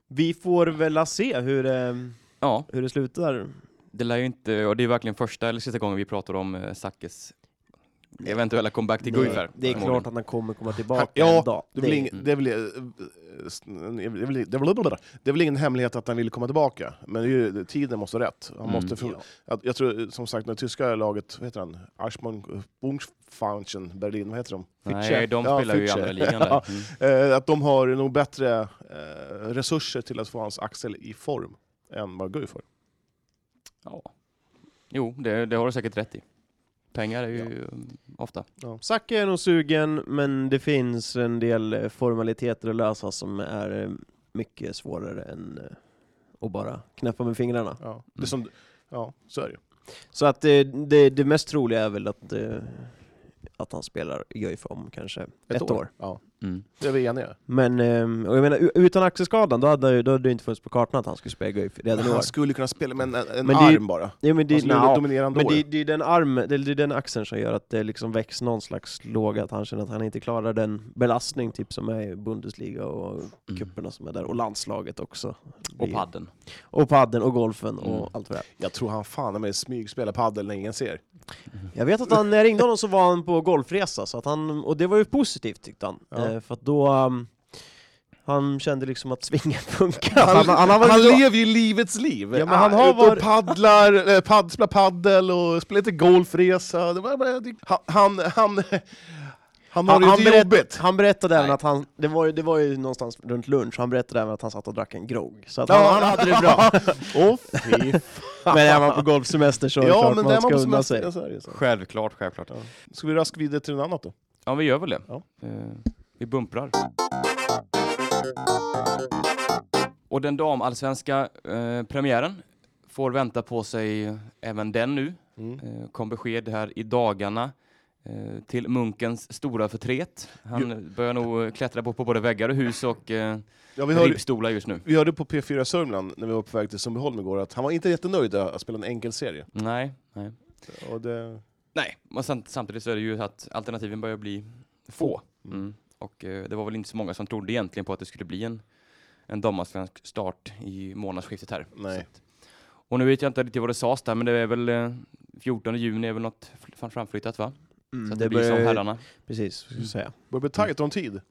I: vi får väl se hur, ehm,
A: ja,
I: hur det slutar.
A: det lär ju inte, och det är verkligen första eller sista gången vi pratar om eh, Zackes eventuella comeback till Guif här.
I: Nej, det är
A: förmodligen.
I: klart att han kommer komma tillbaka
B: Ja,
I: en dag.
B: Det är väl ing-
A: Mm.
B: det är väl, eh, s- det är väl- det är väl- det är väl ingen hemlighet att han vill komma tillbaka, men det är ju, tiden måste vara rätt. Han
A: Mm.
B: måste för, att, jag tror eh, som sagt, när tyska laget, vad heter han? Aschmann Bungsfanchen Berlin, vad heter de?
A: Nej, de
B: Ja,
A: spelar ju i
B: Fitcher.
A: andra ligan där. Mm.
B: Eh, att de har nog bättre eh, resurser till att få hans axel i form än vad Guif har.
A: Ja. Jo, det, det har du säkert rätt i. Pengar är ju mm, ofta.
I: Zacke är nog sugen, men det finns en del eh, formaliteter att lösa som är eh, mycket svårare än eh, att bara knäppa med fingrarna.
B: Ja. Det är
A: Mm.
B: som, ja, så är det ju.
I: Så att eh, det, det mest troliga är väl att, eh, att han spelar i Guif om kanske ett, år.
B: Ja,
A: Mm.
B: det är vi eniga
I: Men, eh, och jag menar, u- utan axelskadan då hade, då hade det inte funnits på kartan att han skulle spela i Guif redan i år.
B: Han skulle kunna spela med en, en
I: Men det är-
B: arm bara. Alltså,
I: Ja, men
B: Han
I: det,
B: skulle vara
I: nja,
B: dominerande
I: Men
B: år.
I: det, det är den arm, det, det är den axeln som gör att det liksom väcks någon slags låga, att han känner att han inte klarar den belastning typ som är i Bundesliga och cuperna som är där, och landslaget också.
A: Och
I: Det-
A: padden.
I: Och padden och golfen och
A: Mm.
I: allt vad det är.
B: Jag tror han fan med smygspelar padel när ingen ser.
I: Jag vet att han, när jag ringde honom så var han på golfresa, så att han, och det var ju positivt tyckte han.
B: Ja.
I: Eh, för att då, um, han kände liksom att svingen funkar.
B: Han, han,
I: har varit glad.
B: lever ju livets liv!
I: Ja, men han har
B: ute och
I: varit-
B: paddlar, eh, pad, spelar paddel och spelar lite golfresa. Det var bara- det- Han, han, han, han har
I: Han,
B: det
I: han,
B: inte
I: berätt,
B: jobbigt.
I: han berättade även
A: Nej.
I: att han, det var, ju, det var ju någonstans runt lunch, han berättade även att han satt och drack en grogg. Så att
B: Ja.
I: han, han hade det bra.
B: Åh fy
I: Men är man på golfsemester så är det
B: Ja,
I: klart
B: men
I: man
B: där
I: ska
B: man på
I: unna
B: semester.
I: sig.
B: Ja, så är det ju så.
A: Självklart, självklart. Ja,
B: Ska vi raska vidare till något annat då?
A: vi gör väl det.
B: Ja.
A: Eh, vi bumprar. Och den damallsvenska eh, premiären får vänta på sig även den nu.
I: Mm.
A: Eh, kom besked här i dagarna eh, till Munkens stora förtret. Han börjar nog eh, klättra på, på både väggar och hus och eh,
B: Ja, vi, hörde,
A: ribbstolar just nu.
B: vi hörde på P4 Sörmland när vi var på väg till Sundbyholm igår att han var inte jättenöjd att spela en enkel serie.
A: Nej, nej.
B: Och det...
A: Nej, och sen, samtidigt så är det ju att alternativen börjar bli få. Mm. Och eh, det var väl inte så många som trodde egentligen på att det skulle bli en, en damallsvensk start i månadsskiftet här.
B: Nej.
A: Så att- Och nu vet jag inte riktigt vad det sades där, men det är väl eh, 14 juni är väl något fl- framflyttat va?
I: Mm,
A: Så att det, blir som herrarna.
I: Precis, skulle jag säga.
B: Börjar bli tajt om tid.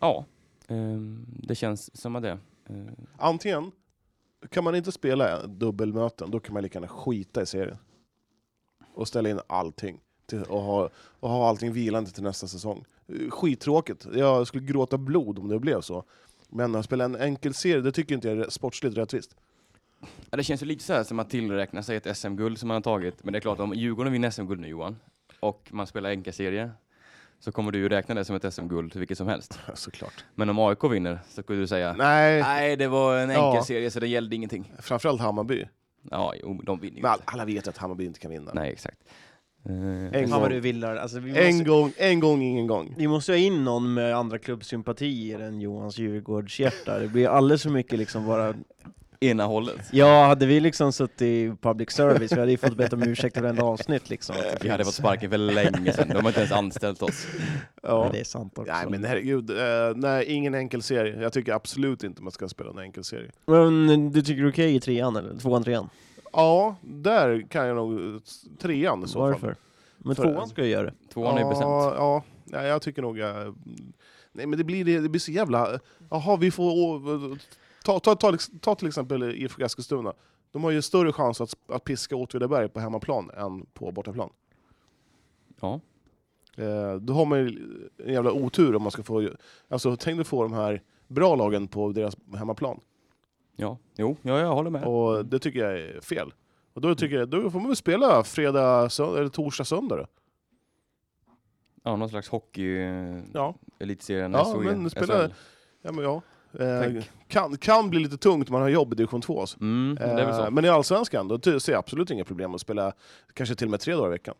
A: Ja, ehm, det känns som att det. Eh,
B: Antingen kan man inte spela dubbelmöten, då kan man lika gärna skita i serien. Och ställa in allting. Till, och, ha, och ha allting vilande till nästa säsong. Eh, Skittråkigt. Jag skulle gråta blod om det blev så. Men att spela en enkel serie, det tycker inte jag är sportsligt rättvist.
A: Ja, det känns ju lite så här som att tillräkna sig ett SM-guld som man har tagit. Men det är klart, om Djurgården vinner SM-guld nu Johan, och man spelar enkelserie, så kommer du ju räkna det som ett SM-guld, vilket som helst.
B: Såklart.
A: Men om AIK vinner så skulle du säga,
B: Nej,
A: nej det var en
B: Ja.
A: enkelserie så det gällde ingenting.
B: framförallt Hammarby.
A: Ja, jo, de vinner ju
B: Men alla-
A: inte.
B: alla vet att Hammarby inte kan vinna.
A: Nej, exakt. Eh,
B: En
I: Fan vad
B: gång.
I: du villar. Alltså, vi,
B: En
I: måste,
B: gång, en gång, ingen gång.
I: vi måste ha in någon med andra klubbsympatier än Johans Djurgårdshjärta. Det blir alldeles för mycket liksom bara...
A: ena hållet.
I: Ja, hade vi liksom suttit i public service, vi hade ju fått bett om ursäkt för varenda avsnitt liksom. Att det
A: typ, Vi hade fått
I: finns-
A: sparken för länge sedan, de har inte ens anställt oss.
I: Ja,
B: Ja.
I: det är sant också.
B: Nej men herregud, eh, nej, ingen enkel serie. Jag tycker absolut inte man ska spela en enkel serie.
I: Men du tycker det är okej i trean eller? Tvåan, trean?
B: Ja, där kan jag nog... Trean i så fall.
I: Varför? Men
B: För-
I: tvåan ska jag göra det.
A: Tvåan är ju bestämt.
B: Ja, ja. Nej, jag tycker nog... Jag, nej, men det blir, det blir så jävla... Jaha, vi får... å- Ta, ta, ta, ta till exempel IFK Eskilstuna. De har ju större chans att, att piska Åtvidaberg på hemmaplan än på bortaplan.
A: Ja.
B: Eh, då har man ju en jävla otur om man ska få... Alltså, tänk dig få de här bra lagen på deras hemmaplan.
A: Ja, jo, ja, jag håller med.
B: Och det tycker jag är fel. Och då, tycker jag, då får man väl spela fredag, sö- eller torsdag, söndag då.
A: Ja, någon slags hockey, eh,
B: Ja.
A: elitserien, E,
B: Ja,
A: SHE,
B: men spela-
A: SHL.
B: Ja, men ja. Eh, kan, kan bli lite tungt om man har jobb i division 2. Alltså.
A: Mm, det är väl så.
B: Eh, men i Allsvenskan, då ty- ser jag absolut inga problem att spela kanske till och med tre dagar i veckan.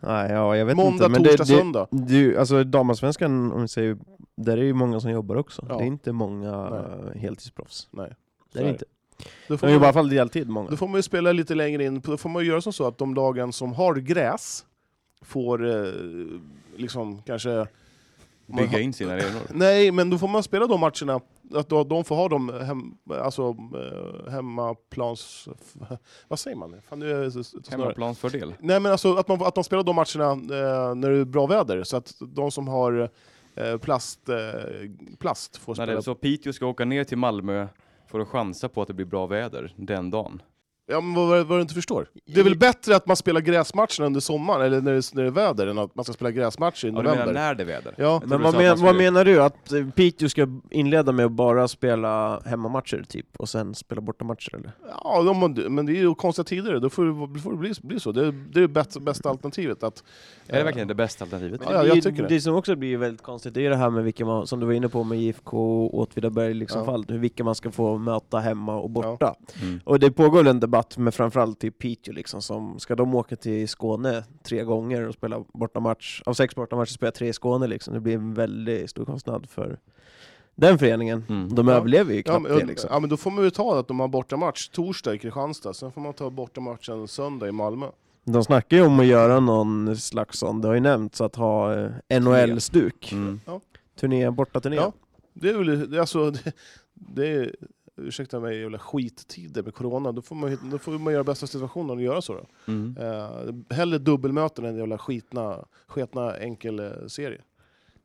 I: Nej, ja, jag vet
B: Måndag,
I: inte. men
B: torsdag,
I: det, det,
B: söndag.
I: Du, alltså damallsvenskan, om vi säger, där är ju många som jobbar också.
B: Ja.
I: Det är inte många
B: Nej.
I: eh, heltidsproffs.
B: Nej.
I: Det är det inte.
B: Då
I: De
B: får,
I: jobbar i alla
B: man,
I: fall deltid, många.
B: då får man ju spela lite längre in, då får man ju göra som så att de lagen som har gräs får eh, liksom kanske... man
A: Bygga
B: har-
A: in sina arenor.
B: Nej, men då får man spela de matcherna, att då, de får ha de hem, alltså, eh, hemmaplans... f- Vad säger man? Fan, nu är jag så, så snarare.
A: Hemmaplansfördel.
B: Nej men alltså att man, att man spelar de matcherna eh, när det är bra väder, så att de som har eh, plast, eh, plast får
A: När det
B: spela.
A: är så Piteå ska åka ner till Malmö för att chansa på att det blir bra väder den dagen.
B: Ja men vad, vad, vad du inte förstår. Det är väl bättre att man spelar gräsmatcherna under sommaren, eller när det, när det är väder, än att man ska spela gräsmatcher i
A: Ja, du menar
B: november.
A: när det är väder?
B: ja,
A: trodde
I: Men
A: du
I: vad,
A: sa att
I: men,
A: man
I: vad
A: skulle-
I: menar du? Att eh, Piteå ska inleda med att bara spela hemmamatcher typ, och sen spela bortamatcher eller?
B: ja de, har- men det är ju konstiga tider, då får, det- får det bli, bli så. Det, är- det är det bästa, bästa alternativet. Att,
A: Är det verkligen det bästa alternativet?
B: Ja, ja, jag tycker det.
I: det som också blir väldigt konstigt, det är ju det här med vilka man, som du var inne på med IFK och Åtvidaberg liksom
B: Ja.
I: fall, hur vilka man ska få möta hemma och borta.
A: Mm.
I: Och det pågår en debatt med framförallt till Piteå liksom, som ska de åka till Skåne tre gånger och spela bortamatch, av sex bortamatcher spelar tre i Skåne liksom. Det blir en väldigt stor kostnad för den föreningen.
A: Mm.
I: De
B: Ja.
I: överlever ju
B: ja,
I: knappt
B: men,
I: det liksom.
B: ja men då får man ju ta att de har bortamatch torsdag i Kristianstad, sen får man ta bortamatchen söndag i Malmö.
I: De snackar ju om att göra någon slags sån, det har ju nämnts att ha eh, NHL-stuk.
A: Mm.
I: Turné, bortaturné.
B: Ja. Det är väl, det är alltså, det, det är, ursäkta mig, jävla skittider med corona. Då får man, ju- då får man göra bästa situationen och göra så. Då.
A: Mm.
B: Eh, hellre dubbelmöten än jävla skitna, sketna enkel eh, serie.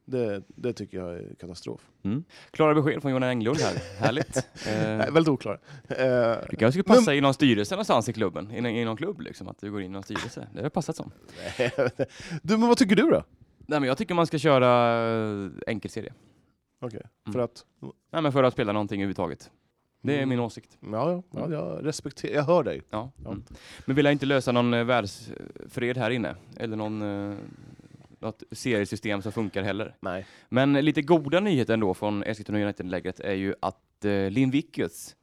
B: Det, det tycker jag är katastrof.
A: Klara besked från Jonas Englund här. Härligt.
B: Nej,
A: Eh,
B: väldigt oklar. Eh,
A: du kanske skulle passa i någon styrelse någonstans i klubben, i, någon- i någon klubb liksom, att du går in i någon styrelse. Det hade passat som.
B: du, men vad tycker du då?
A: Nej men jag tycker man ska köra eh, enkelserie.
B: Okej,
A: Mm.
B: För att,
A: Nej men för att spela någonting överhuvudtaget. Det
B: Mm.
A: är min åsikt.
B: ja, ja, ja, jag respekterar, jag hör dig.
A: Ja.
B: Ja.
A: Mm. Men vi lär inte lösa någon eh, världsfred här inne, eller någon, eh, något seriesystem som funkar heller.
B: Nej.
A: Men lite goda nyheter ändå från Eskilstuna United-lägret är ju att eh, Linn Vikius,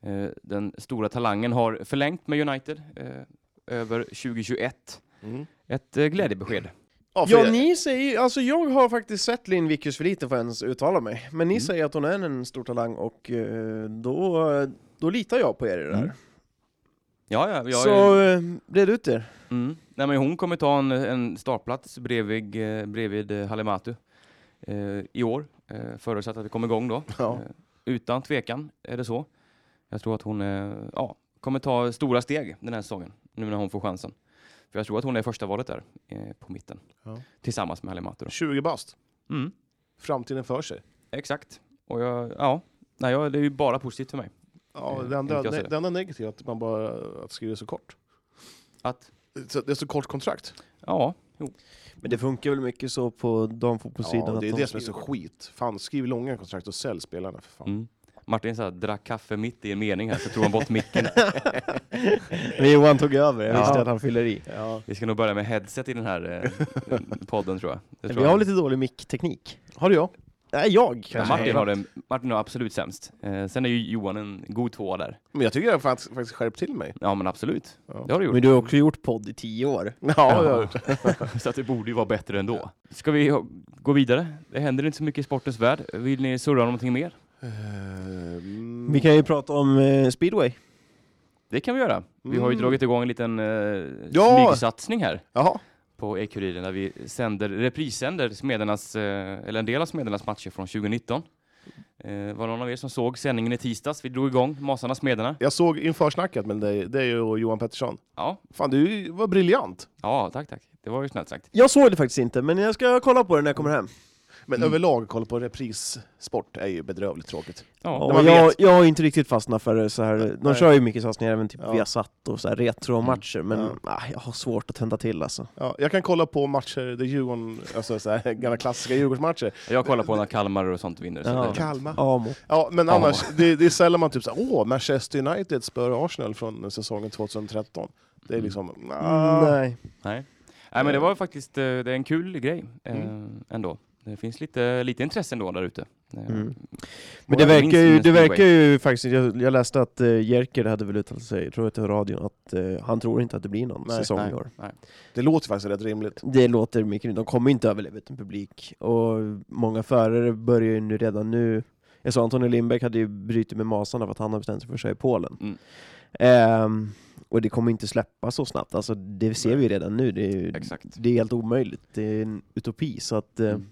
A: eh, den stora talangen, har förlängt med United eh, över 2021.
B: Mm.
A: Ett eh, glädjebesked.
B: Ja, för
I: Ja,
B: jag-
I: ni säger alltså jag har faktiskt sett Linn Vickers för lite för att ens uttala mig. Men ni
A: Mm.
I: säger att hon är en stor talang och eh, då, då litar jag på er i det här.
A: Mm. Ja, ja, jag,
I: Så eh, red ut er.
A: Mm. Nej, men hon kommer ta en, en startplats bredvid, eh, bredvid eh, Halimatu eh, i år, eh, förutsatt att vi kommer igång då.
B: Ja.
A: Eh, utan tvekan är det så. Jag tror att hon eh, ja, kommer ta stora steg den här säsongen, nu när hon får chansen. För jag tror att hon är första valet där eh, på mitten.
B: Ja.
A: Tillsammans med Halim Atto.
B: 20 bast.
A: då. Mm.
B: Framtiden för sig.
A: Exakt. Och jag, ja, nej, jag, det är ju bara positivt för mig.
B: Ja,
A: Eh,
B: det, enda,
A: inte jag
B: ne-
A: ser det.
B: det enda negativa är att man bara att det skriver så kort.
A: Att,
B: Så, det är så kort kontrakt.
A: ja,
I: Men det funkar väl mycket så på damfotbollssidan?
B: Ja,
I: att
B: det är
I: de
B: det som är så
I: skriver-
B: skit. Fan, skriv långa kontrakt och sälj spelarna för fan.
A: mm. Martin så här, drack kaffe mitt i en mening här, så tog han bort micken.
I: Men Johan tog över, jag visste att han fyller i.
A: Vi ska nog börja med headset i den här eh, podden tror jag. Det tror
I: Vi har
A: jag.
I: lite dålig mickteknik.
B: Har du jag?
I: Nej, jag
A: Ja,
I: kanske.
A: Martin, har den, Martin har absolut sämst. Eh, sen är ju Johan en god tvåa där.
B: Men jag tycker jag har fakt- faktiskt skärpt till mig.
A: Ja men absolut,
B: Ja.
A: det har du gjort.
I: Men du har också gjort podd i tio år.
B: Ja, ja. Jag,
A: Så att det borde ju vara bättre ändå. Ska vi ha- gå vidare? Det händer inte så mycket i sportens värld. Vill ni surra om någonting mer?
B: Ehm,
I: Vi kan ju prata om eh, speedway.
A: Det kan vi göra. Vi har ju
B: Mm.
A: dragit igång en liten eh,
B: Ja!
A: smygsatsning här
B: Jaha.
A: på E-Kuriren där vi sänder, reprissänder Smedernas, eh, eller en del av Smedernas matcher från 2019. Eh, var det någon av er som såg sändningen i tisdags? Vi drog igång Masarna Smederna.
B: Jag såg införsnacket med dig, dig och Johan Pettersson.
A: Ja,
B: Fan, du var briljant.
A: ja tack tack. Det var ju snällt sagt.
I: Jag såg det faktiskt inte, men jag ska kolla på det när jag kommer hem.
B: Men
I: Mm.
B: överlag, kolla på reprissport är ju bedrövligt tråkigt.
A: Ja.
I: Ja,
B: man
I: jag,
B: vet.
I: jag har inte riktigt fastnat för det så här. De
B: Nej.
I: kör ju mycket satsningar även typ
B: Ja. Mm.
I: Viasat och så här retromatcher, men
B: Ja.
I: ah, jag har svårt att tända till alltså.
B: Ja, jag kan kolla på matcher där Djurgården, alltså så här, gamla klassiska Djurgårdsmatcher.
A: Jag kollar på när Kalmar och sånt vinner. Så
I: Ja.
A: det-
B: Kalmar.
I: Amo.
B: Ja, men
A: Ja.
B: annars, det, det är sällan man typ såhär, åh, Manchester United spör Arsenal från säsongen 2013. Det är
I: Mm.
B: liksom, nah.
I: Nej.
A: Nej. Nej, men det var faktiskt eh, det är en kul grej eh, ändå. Det finns lite, lite intresse ändå där ute. Eh,
I: Mm. Men
A: Många
I: det
A: minns
I: verkar ju,
A: Guinness
I: det
A: Speedway.
I: verkar ju faktiskt, jag, jag läste att eh, Jerker hade väl uttalat sig, jag tror att det var radion, att eh, han tror inte att det blir någon
B: Nej,
I: säsong
A: nej,
I: i år.
A: nej.
B: Det låter faktiskt rätt rimligt.
I: Det låter mycket, de kommer inte överleva utan publik och många förare börjar ju nu redan nu jag sa Antonio Lindbäck hade ju brutit med masarna för att han har bestämt sig för att köra i Polen.
A: Mm.
I: Ehm, och det kommer inte släppa så snabbt, alltså, det ser vi ju redan nu. Det är, ju-
A: Exakt.
I: det är helt omöjligt, det är en utopi. Så att, eh,
A: Mm.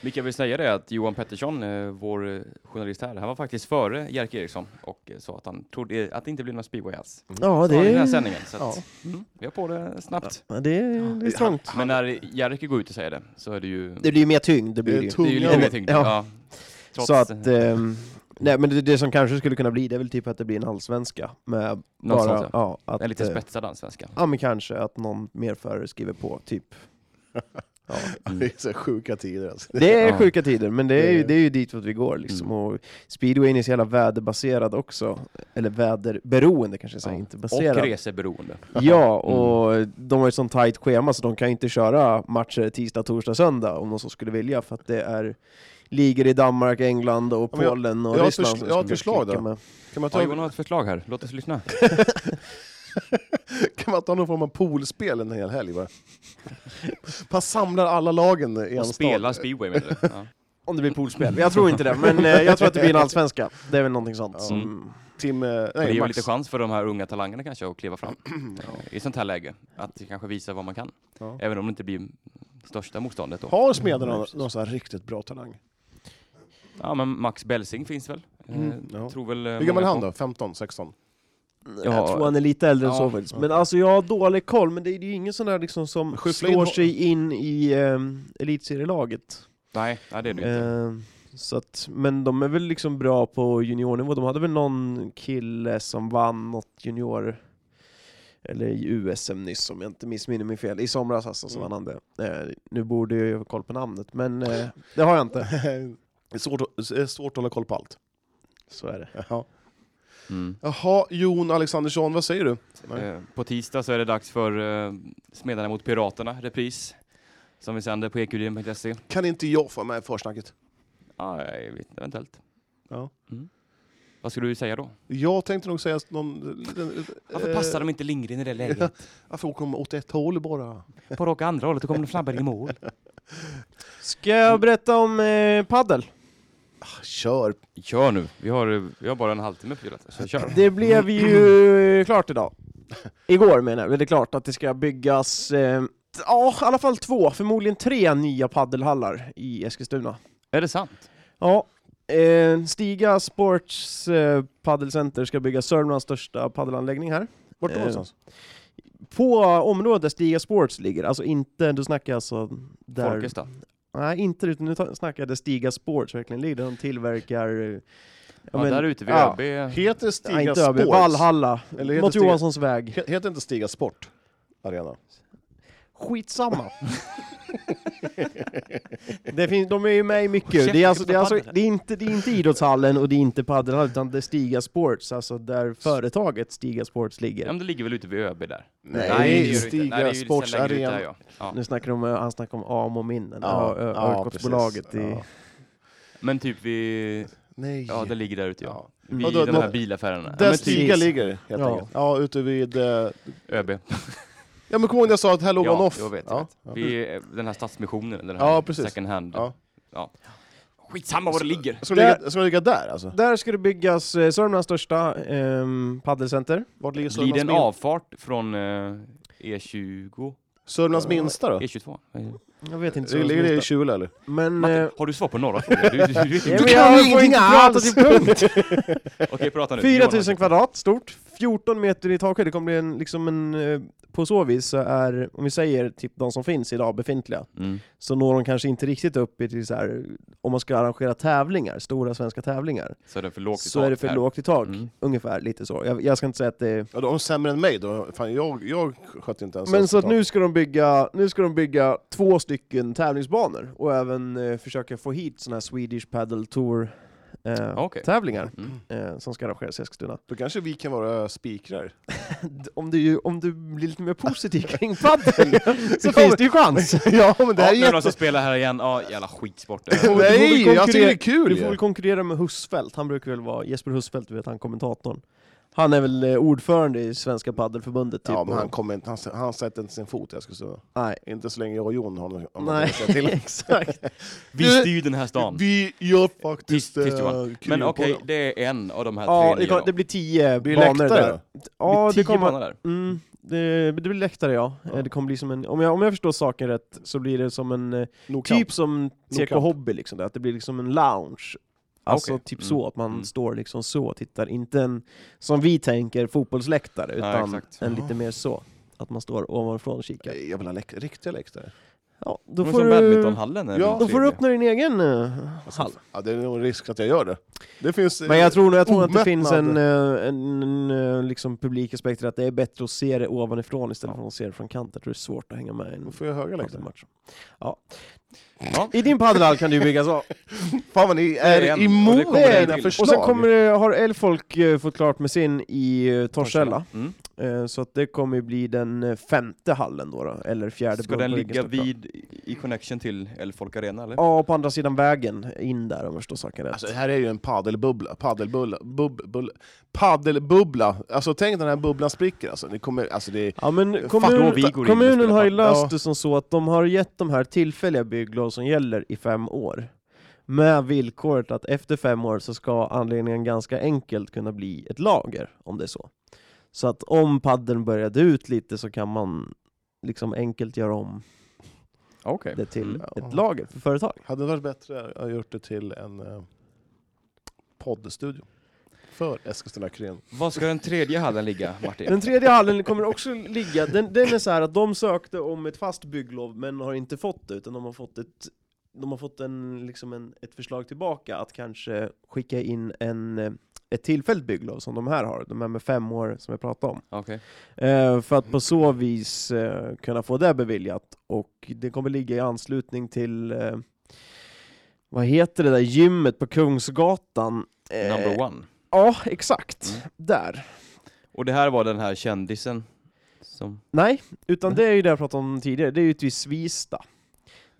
A: Vi kan väl säga det att Johan Pettersson, eh, vår eh, journalist här, han var faktiskt före Jerker Eriksson och eh, sa att han trodde eh, att det inte blev någon speedway alls.
I: ja,
A: Det är...
I: det
A: I den här
I: är,
A: sändningen. Så att, mm, vi har på det snabbt.
I: ja, det är, det är strångt.
A: Men när Jerker går ut och säger det så är det ju...
I: Det blir ju mer tyngd. Det
B: Det
I: blir
B: är
I: det ju.
A: det är ju
B: tunga
A: lite
I: Eller-
A: mer
B: ord.
A: tyngd.
I: ja.
A: Ja. Trots,
I: Så att,
A: eh,
I: ehm, nej men det, det som kanske skulle kunna bli det är väl typ att det blir en allsvenska med
A: något
I: bara,
A: sånt, ja.
I: ja, att,
A: En lite
I: eh,
A: spetsad allsvenska.
I: Ja men kanske att någon mer förare skriver på, typ. Ja.
B: Det är så här sjuka tider alltså.
I: Det är
A: Ja.
I: sjuka tider, men det är, ju,
B: Det-
I: det är ju ditåt vi går liksom.
A: Mm.
I: Och speedwayen är så jävla väderbaserad också. Eller väderberoende kanske jag säger,
A: Ja.
I: inte
A: Och
I: baserad.
A: reseberoende.
I: Ja,
B: Mm.
I: och de har ju sånt tajt schema så de kan ju inte köra matcher tisdag, torsdag, söndag om de så skulle vilja för att det är ligor i Danmark, England och
B: Ja, men jag-
I: Polen och
B: jag har ett
I: Ryssland.
B: förs-
I: som
B: jag har ett
I: skulle
B: förslag
I: klicka
B: då.
I: med.
B: Kan man,
A: Har
B: ta,
A: Johan något förslag här? Låt oss lyssna.
B: kan man ta någon form av poolspel en hel helg bara? Man samlar alla lagen i en
A: Och
B: stad.
A: spela speedway menar du? Ja.
I: Om det blir poolspel. Jag tror inte det, men eh, jag tror att det blir en allsvenska. Det är väl någonting sånt.
A: Mm.
I: Som,
B: Timme,
A: Men det
B: eh, nej,
A: ger väl
B: max.
A: lite chans för de här unga talangerna kanske att kliva fram eh, i sånt här läge. Att kanske visa vad man kan.
B: Ja.
A: Även om det inte blir största motståndet då.
B: Har Smederna någon, någon sån här riktigt bra talang?
A: Ja, men Max Belsing finns väl? Eh,
B: Mm, ja.
A: Tror väl eh,
B: Hur gammal
A: många
B: är han
A: på.
B: då? 15, 16?
A: Ja.
I: Jag tror han är lite äldre än
A: Ja.
I: så faktiskt. Men alltså jag har dålig koll, men det är ju ingen sån där liksom som
B: Skyffla in
I: slår
B: ho-
I: sig in i um, elitserielaget.
A: Nej, nej, det är det
B: Mm.
A: inte.
I: Eh, så att, men de är väl liksom bra på juniornivå. De hade väl någon kille som vann något junior eller i USM nyss om jag inte missminner mig fel. I somras alltså så
B: Mm.
I: vann han det. Eh, nu borde jag ju ha koll på namnet men eh, det har jag inte.
B: Det är svårt, att- det är svårt att hålla koll på allt.
I: Så är det.
B: Ja.
A: Mm.
B: Jaha, Jon Alexandersson, vad säger du? Eh, Nej.
A: Eh, På tisdag så är det dags för eh, Smedarna mot Piraterna, repris. Som vi sänder på ekudin.se.
B: Kan inte jag få med i försnacket?
A: Ja, jag vet inte, eventuellt.
B: Ja.
A: Mm. Vad skulle du säga då?
B: Jag tänkte nog säga någon... liten-
A: Varför
B: eh,
A: passar de inte Lindgren i det läget?
B: Varför åker de åt ett håll bara?
A: På raka andra hållet, då kommer de snabbare i mål.
I: Ska jag berätta om eh, paddel?
B: Ah, Kör!
A: Kör nu. Vi har, eh, vi har bara en halvtimme på julen, så kör.
I: Det blev ju klart idag. Igår menar jag, blev det klart att det ska byggas eh, ja, i alla fall två, förmodligen tre nya paddelhallar i Eskilstuna.
A: Är det sant?
I: Ja, eh, Stiga Sports eh, Paddelcenter ska bygga Sörmlands största paddelanläggning här.
B: Vart då
I: Eh,
B: någonstans?
I: på området där Stiga Sports ligger, alltså inte, du snackar jag alltså där...
A: Folkestad.
I: Nej, inte utan nu ta- snackar jag där Stiga Sports verkligen ligger, där de tillverkar... eh, Ja,
A: Ja,
I: men-
A: där ute vid
B: ja.
A: ÖB.
B: Heter det
I: Nej,
B: Stiga
I: inte ÖB,
B: Sports?
I: Valhalla.
B: Eller heter
I: Något
B: Stiga-
I: Johanssons väg.
B: He- Heter inte Stiga Sport Arena?
I: Skitsamma. det finns, de är ju med i mycket. Det är, alltså, det, är alltså, det, är inte, det är inte idrottshallen och det är inte padelhallen utan det är Stiga Sports, alltså där företaget Stiga Sports
A: Ja,
I: ligger.
A: men det ligger väl ute vid ÖB där?
B: Nej,
A: det gör
B: det är
A: det inte.
B: Stiga
A: Nej, det är ju sedan
B: Sports
A: längre ut där,
B: Arena.
A: ja. Ja.
I: Nu snackar de, han snackar om Amo Minnen,
B: Ja,
I: ja,
B: ja,
I: Örtgotsbolaget.
B: precis.
I: i
B: Ja.
A: Men typ vid...
B: Nej.
A: Ja, det ligger där ute ja.
I: Mm.
A: Vid
B: Ja, då-
A: de här
B: då-
A: bilaffärerna. Ja,
B: Där
A: men
B: Stiga
A: typ
B: ligger helt
I: Ja.
B: enkelt. Ja, ute vid... eh,
A: ÖB.
B: Ja men kom ihåg när jag sa att här låg
A: Ja,
B: han off?
A: jag vet, jag
B: ja.
A: vet. Vid eh, den här stadsmissionen, den här
B: Ja, precis.
A: second hand.
B: Ja.
A: Ja. Skitsamma var det ligger!
B: Jag Ska, ligga, jag ska ligga där alltså?
I: Där ska det byggas eh, Sörmlands största eh, paddelcenter.
B: Vart ligger Sörmlands,
A: Blir det en
B: min-
A: avfart från eh, E E20?
B: Sörmlands minsta då?
A: E22? Vad heter det?
I: Jag vet inte. så
B: Ligger det i Kjula eller?
I: Men... eh,
A: Martin, har du svar på några frågor? Du, du, du, du,
I: ja, men
B: kan ju
I: jag får
B: ingenting
I: inte prata
B: alls.
I: till punkt!
A: Okej, prata nu.
I: 4000
A: Johan.
I: kvadrat stort, 14 meter i takhöjd. Det kommer bli en, liksom en, eh, på så vis så är, om vi säger typ de som finns idag befintliga,
A: Mm.
I: så når de kanske inte riktigt upp i till så här, om man ska arrangera tävlingar, stora svenska tävlingar,
A: Så är det för lågt i
I: så
A: tak
I: är det för
A: här.
I: lågt i tak.
A: Mm.
I: Ungefär lite så. Jag, jag ska inte säga att det
B: Ja, de är sämre än mig då. Fan, jag, jag skötte inte ens
I: Men så att
B: resultat.
I: nu ska de bygga, nu ska de bygga två stycken tävlingsbanor och även eh, försöka få hit sådana här Swedish Padel Tour eh,
A: Okej.
I: tävlingar
A: Mm.
I: eh, som ska arrangeras i Eskilstuna.
B: Då kanske vi kan vara spikrar.
A: Typ
I: D- Om du, om du blir lite mer positiv kring padel så
B: kommer-
I: finns det ju chans!
B: ja men
A: Ja, nu är
B: det här
A: det
B: är
I: alltså,
A: någon
B: jätte...
A: som spelar här igen. Ja, jävla skitsport.
B: Nej, jag tycker det är kul
I: Du
B: ju.
I: får väl konkurrera med Husfeldt, han brukar väl vara, Jesper Husfeldt, du vet han kommentatorn. Han är väl eh, ordförande i Svenska Paddelförbundet typ.
B: Ja men han
I: och-
B: kommer inte, han, s- han sätter inte sin fot jag skulle säga.
I: Nej.
B: Inte så länge jag och Jon har något- om man
I: Nej,
B: kan säga till.
I: exakt.
A: Vi styr den här stan.
B: Vi gör faktiskt... eh,
A: Tyst, tyst
I: eh,
A: Johan. Men okej,
B: det...
A: det är en av de här
I: Ja,
A: tre
I: det,
A: nya
I: kom,
A: då.
I: det blir tio
B: Blir det
I: banor
B: läktare
I: där.
B: då?
I: Ja,
A: tio
I: det kommer,
A: banor där.
I: Mm, det, det blir läktare ja. Eh, Det kommer bli som en, om, jag, om jag förstår saken rätt så blir det som en, eh,
B: No
I: typ som TK
B: camp.
I: Hobby liksom, där, att det blir liksom en lounge. Alltså
A: okej.
I: typ
A: Mm.
I: så, att man
A: Mm.
I: står liksom så och tittar, inte en, som vi tänker, fotbollsläktare,
A: Ja,
I: utan
A: exakt.
I: en lite mer så. Att man står ovanifrån och kikar.
B: Nej, Jag vill ha läk- Eh, riktiga läktare.
I: Ja, då
A: Men
I: får
A: som
I: du,
A: badmintonhallen är
B: Ja,
A: väl
I: då får du
A: trevlig.
I: öppna din egen eh,
A: Alltså,
I: hall.
B: Ja, det är nog risk att jag gör det. Det finns... eh,
I: Men jag tror, nog- jag tror att det
B: omättnad.
I: finns en, eh, en, eh, liksom publikaspekt att det är bättre att se det ovanifrån istället för att se det från kanten. Jag tror det är svårt att hänga med i en
B: Då får jag höga läktare.
I: padelmatch. Ja.
A: Ja.
I: I din padelhall kan du bygga så.
B: Fan vad ni är
A: Det är en- och det
B: emot
A: kommer en
B: mina
A: till.
B: förslag!
I: Och sen kommer, det- har Elfolk eh, fått klart med sin i eh, Torshälla,
A: Mm.
I: Eh, så att det kommer ju bli den eh, femte hallen då, då eller fjärde.
A: Ska
I: beroende
A: den
I: på vilken
A: ligga
I: stort det är.
A: vid i- i connection till Elfolk Arena eller?
I: Ja, på andra sidan vägen in där om jag förstår saken rätt.
B: Alltså det här är ju en padelbubbla, padelbubbla, bub, bubbla, padelbubbla. Alltså tänk när den här bubblan spricker alltså. Det kommer, alltså det är,
I: Ja men
B: Fattar
A: om
I: kommun,
A: vi går in och
I: kommunen
A: spelar
I: har ju
A: padel.
I: löst
B: Ja.
I: det som så att de har gett de här tillfälliga bygglov som gäller i fem år. Med villkoret att efter fem år så ska anledningen ganska enkelt kunna bli ett lager, om det är så. Så att om paddeln börjar dö ut lite så kan man liksom enkelt göra om
A: Okej.
I: det till
A: Mm.
I: ett lager för företag.
B: hade det varit bättre att ha gjort det till en eh, poddstudio. För Eskilstuna Kren.
A: Var ska den tredje hallen ligga Martin?
I: Den tredje hallen kommer också ligga, den, den är så här att de sökte om ett fast bygglov men har inte fått det utan de har fått ett de har fått en, liksom en, ett förslag tillbaka att kanske skicka in en, eh, ett tillfälligt bygglov som de här har, de här med fem år som jag pratade om.
A: Okej.
I: Eh, för att på så vis eh, kunna få det beviljat och det kommer ligga i anslutning till eh, vad heter det där gymmet på Kungsgatan? Eh,
A: Number one.
I: Ja, exakt.
A: Mm.
I: Där.
A: Och det här var den här kändisen som...
I: Nej, utan det är ju det jag pratade om tidigare, det är ju ute vid Svista.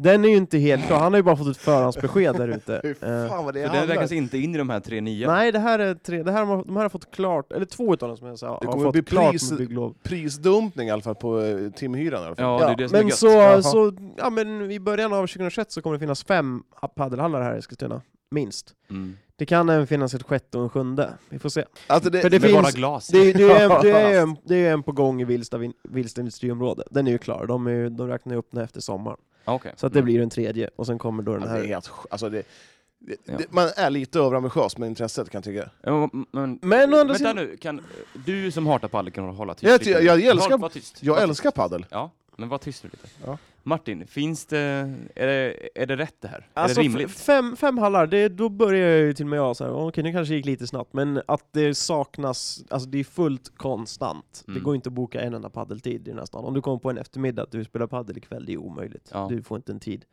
I: Den är ju inte helt klar, han har ju bara fått ett förhandsbesked där ute.
B: Fy
I: Eh,
B: Fan vad det
A: Så den räknas
B: handlar.
A: inte in i de här tre nya?
I: nej, det här är tre, det här, har- de här har fått klart, eller två utav dem som jag sa,
B: Det
I: har
B: kommer bli
I: fått klart
B: pris-
I: med bygglov.
B: Prisdumpning i alla fall på eh, timhyran i alla fall.
A: Ja, det är det som är
I: Men
A: gött.
I: så,
B: Jaha.
I: så, ja men i början av 2021 så kommer det finnas fem padelhallar här i Eskilstuna, minst.
A: Mm.
I: Det kan även finnas ett sjätte och en sjunde, vi får se.
B: Alltså, det,
I: För det
A: Med bara
I: finns-
A: glas?
I: Det är, det är, en, det är, en, det är en på gång i Vilsta, Vilsta industriområde, den är ju klar, de, är, ju- de räknar ju upp den efter sommaren.
A: Ah, Okej.
I: Så att det blir den tredje, och sen kommer då den
B: ja, det är
I: här
B: helt, sj- alltså det, Det-
A: Ja.
B: det- Man är lite överambitiös med intresset kan jag tycka.
I: Typ
A: Ja, men- Men,
I: Men å andra
A: vänta
I: sidan...
A: nu, kan, du som hatar padel kan hålla tyst
B: Jag
A: lite.
B: ty- jag älskar-
A: Håll- var tyst.
B: Jag
A: Var tyst.
B: älskar padel.
A: Ja, men var tyst nu lite.
B: Ja.
A: Martin, finns det, är, det, är det rätt det här?
I: Alltså,
A: är det rimligt?
I: f- fem, fem hallar, det, då börjar jag ju till och med jag så här, okej nu kanske det gick lite snabbt, men att det saknas, alltså det är fullt konstant. Det
A: Mm.
I: går inte att boka en enda paddeltid i den här stan. Om du kommer på en eftermiddag att du spelar paddel ikväll, det är omöjligt.
A: Ja.
I: Du får inte en tid.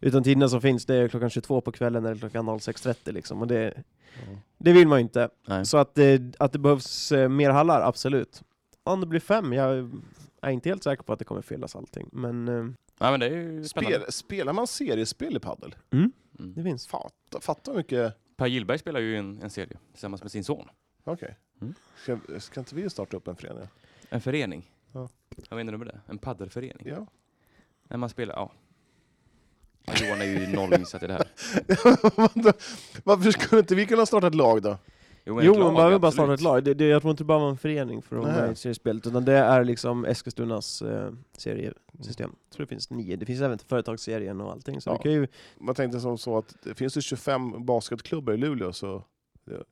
I: Utan tiderna som finns, det är klockan 22 på kvällen eller klockan 06.30 liksom, och det, det vill man ju inte.
A: Nej.
I: Så att det, att det behövs eh, mer hallar, absolut. Om det blir fem, jag är inte helt säker på att det kommer fyllas allting, men eh,
A: Nej, men det är ju spännande.
B: Spel, spelar man seriespel i padel?
I: det
A: Mm.
I: finns.
B: Fatta, fatta hur mycket...
A: Per Gillberg spelar ju en, en serie tillsammans med sin son.
B: Okej.
A: Mm.
B: Ska, ska inte vi starta upp en förening?
A: En förening.
B: Ja.
A: Jag vet inte om det är en paddelförening.
B: Ja.
A: När man spelar, ja. Ja, Johan är ju noll insatt i det här.
B: Varför skulle inte vi kunna starta ett lag då?
A: men
I: Jo,
A: ett lag,
I: man behöver bara
A: absolut.
I: starta ett lag. Det, det, jag tror inte det bara var en förening för att vara
B: Nej.
I: med i seriespelet, utan det är liksom Eskilstunas eh, seriesystem. Jag tror det finns nio. Det finns även till företagsserien och allting. Så
B: Ja.
I: det kan ju,
B: Man tänkte som så att det finns ju 25 basketklubbar i Luleå så det, det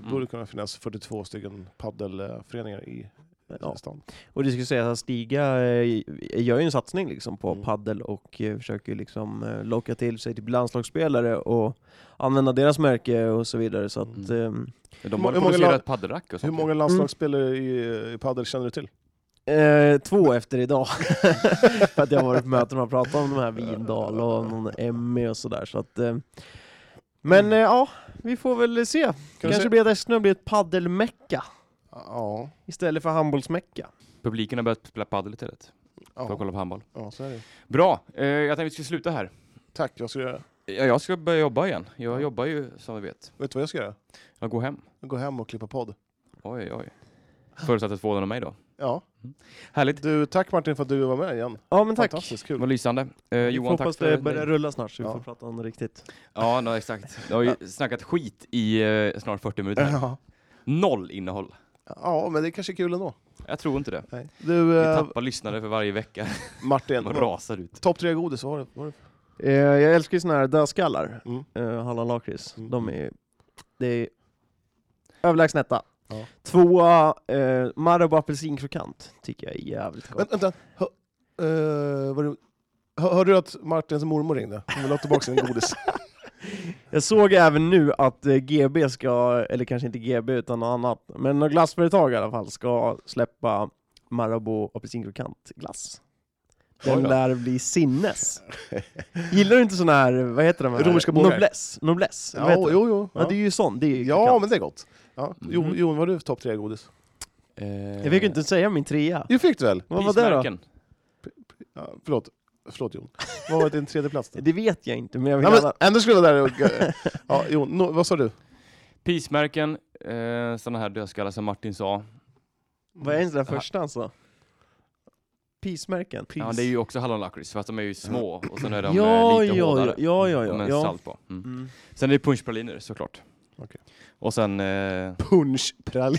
A: Mm.
B: borde kunna finnas 42 stycken paddelföreningar i
I: ja.
B: ja. stan.
I: Och det skulle sägas att Stiga eh, gör ju en satsning liksom på
B: Mm.
I: paddel och eh, försöker ju liksom eh, locka till sig typ landslagsspelare och använda deras märke och så vidare. Så att, ehm,
A: De
B: många
A: har producerat
B: lag-
A: ett paddelrack och
B: Hur
A: sånt.
B: många
I: Mm.
B: landslagsspelare i, i padel känner du till?
I: eh, eh, två efter idag. För att jag har varit på möten och pratat om de här Vindal och någon Emmy och sådär. Så att, eh, men eh, ja, vi får väl se.
B: Kan
I: Kanske
B: du
I: blir det snart blir ett paddelmecka
B: Ja,
I: istället för handbollsmecka.
A: Publiken har börjat spela padel istället. För att
B: ja,
A: kolla på handboll.
B: ja, så är det.
A: Bra, eh, jag tänkte vi skulle sluta här.
B: Tack, jag ska göra.
A: Ja, jag ska börja jobba igen. Jag jobbar ju som vi vet.
B: Vet du vad jag ska göra?
A: Jag går hem.
B: Gå hem och klippa podd.
A: Oj, oj. Förutsatt att två av mig då.
B: Ja.
A: Härligt.
B: Du, tack Martin för att du var med igen.
I: Ja men tack.
B: Fantastiskt
A: Det
B: kul.
A: var lysande. Eh,
I: Vi får
A: Johan, tack
I: hoppas
A: för
I: det börjar rulla snart så vi
B: Ja.
I: får prata om det riktigt.
A: Ja, no, exakt. Du har ju snackat skit i eh, snart 40 minuter. här.
B: Ja.
A: Noll innehåll.
B: ja, men det kanske är kul ändå.
A: Jag tror inte det.
B: Nej. Du,
A: Vi
B: eh,
A: tappar lyssnare för varje vecka.
B: Martin.
A: De rasar ut.
B: Topp tre godis, vad har du- vad har du?
I: Eh, jag älskar ju såna här dödskallar,
B: Mm.
I: eh, Halland Lakrits.
B: Mm.
I: De är, det är överlägset etta.
B: Ja.
I: Tvåa, eh, Marabou apelsinkrokant tycker jag är jävligt gott.
B: Vänta, vänta. Hör, eh, var du, hör, hörde du att Martins mormor ringde? Hon vill ha tillbaka sin godis.
I: Jag såg även nu att eh, GB ska, eller kanske inte GB utan något annat, men något glassföretag i alla fall ska släppa Marabou apelsinkrokant glass. Den
B: Oj då.
I: lär bli sinnes. Gillar du inte sån här, vad heter de här?
B: Romerska bågar.
I: Noblesse. Noblesse.
B: ja, jo, jo.
I: Ja. det är ju sån. Det är ju
B: Ja,
I: krokant.
B: men det är gott. Ja. Mm. Jo,
I: Mhm.
B: Jon, vad har du för topp tre godis?
A: Eh,
I: Jag fick ju inte säga min trea.
B: Jo, fick du väl?
I: Vad var det då?
A: Prismärken.
B: Ja, förlåt. Förlåt Jon. Vad var din tredje plats då?
I: Det vet jag inte, men jag vill
B: Nej, men,
I: gärna...
B: ändå skulle jag vara där och... Ja, Jon, no, vad sa du?
A: Prismärken, eh, sådana här dödskallar som Martin sa.
I: Vad är ens den första alltså? Pismärken?
A: Ja, det är ju också hallonlakrits, fast de är ju små och sen är de
I: Ja,
A: eh, lite
I: ja,
A: hårdare.
I: ja, ja, ja,
A: Med
I: ja.
A: salt på. Mm.
I: Mm.
A: Sen är det punschpraliner såklart.
B: Okej.
A: Och sen, eh, det
B: Punschpralin.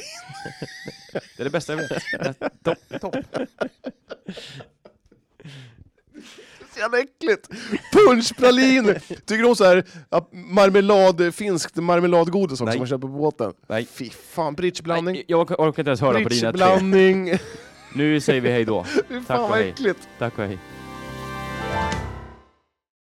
A: är det bästa jag vet. Eh, Topp, topp.
B: Så jävla äckligt! Punschpralin! Tycker du om så här ja, marmelad, finskt marmeladgodis också
A: Nej.
B: som man köper på båten?
A: Nej.
B: Fy fan, bridgeblandning.
A: Nej, Jag orkar orkar inte ens höra på dina tre.
B: Bridgeblandning.
A: Nu säger vi hej då.
B: Fy
A: Tack
B: fan
A: och
B: vad
A: hej.
B: äckligt.
A: Tack och hej.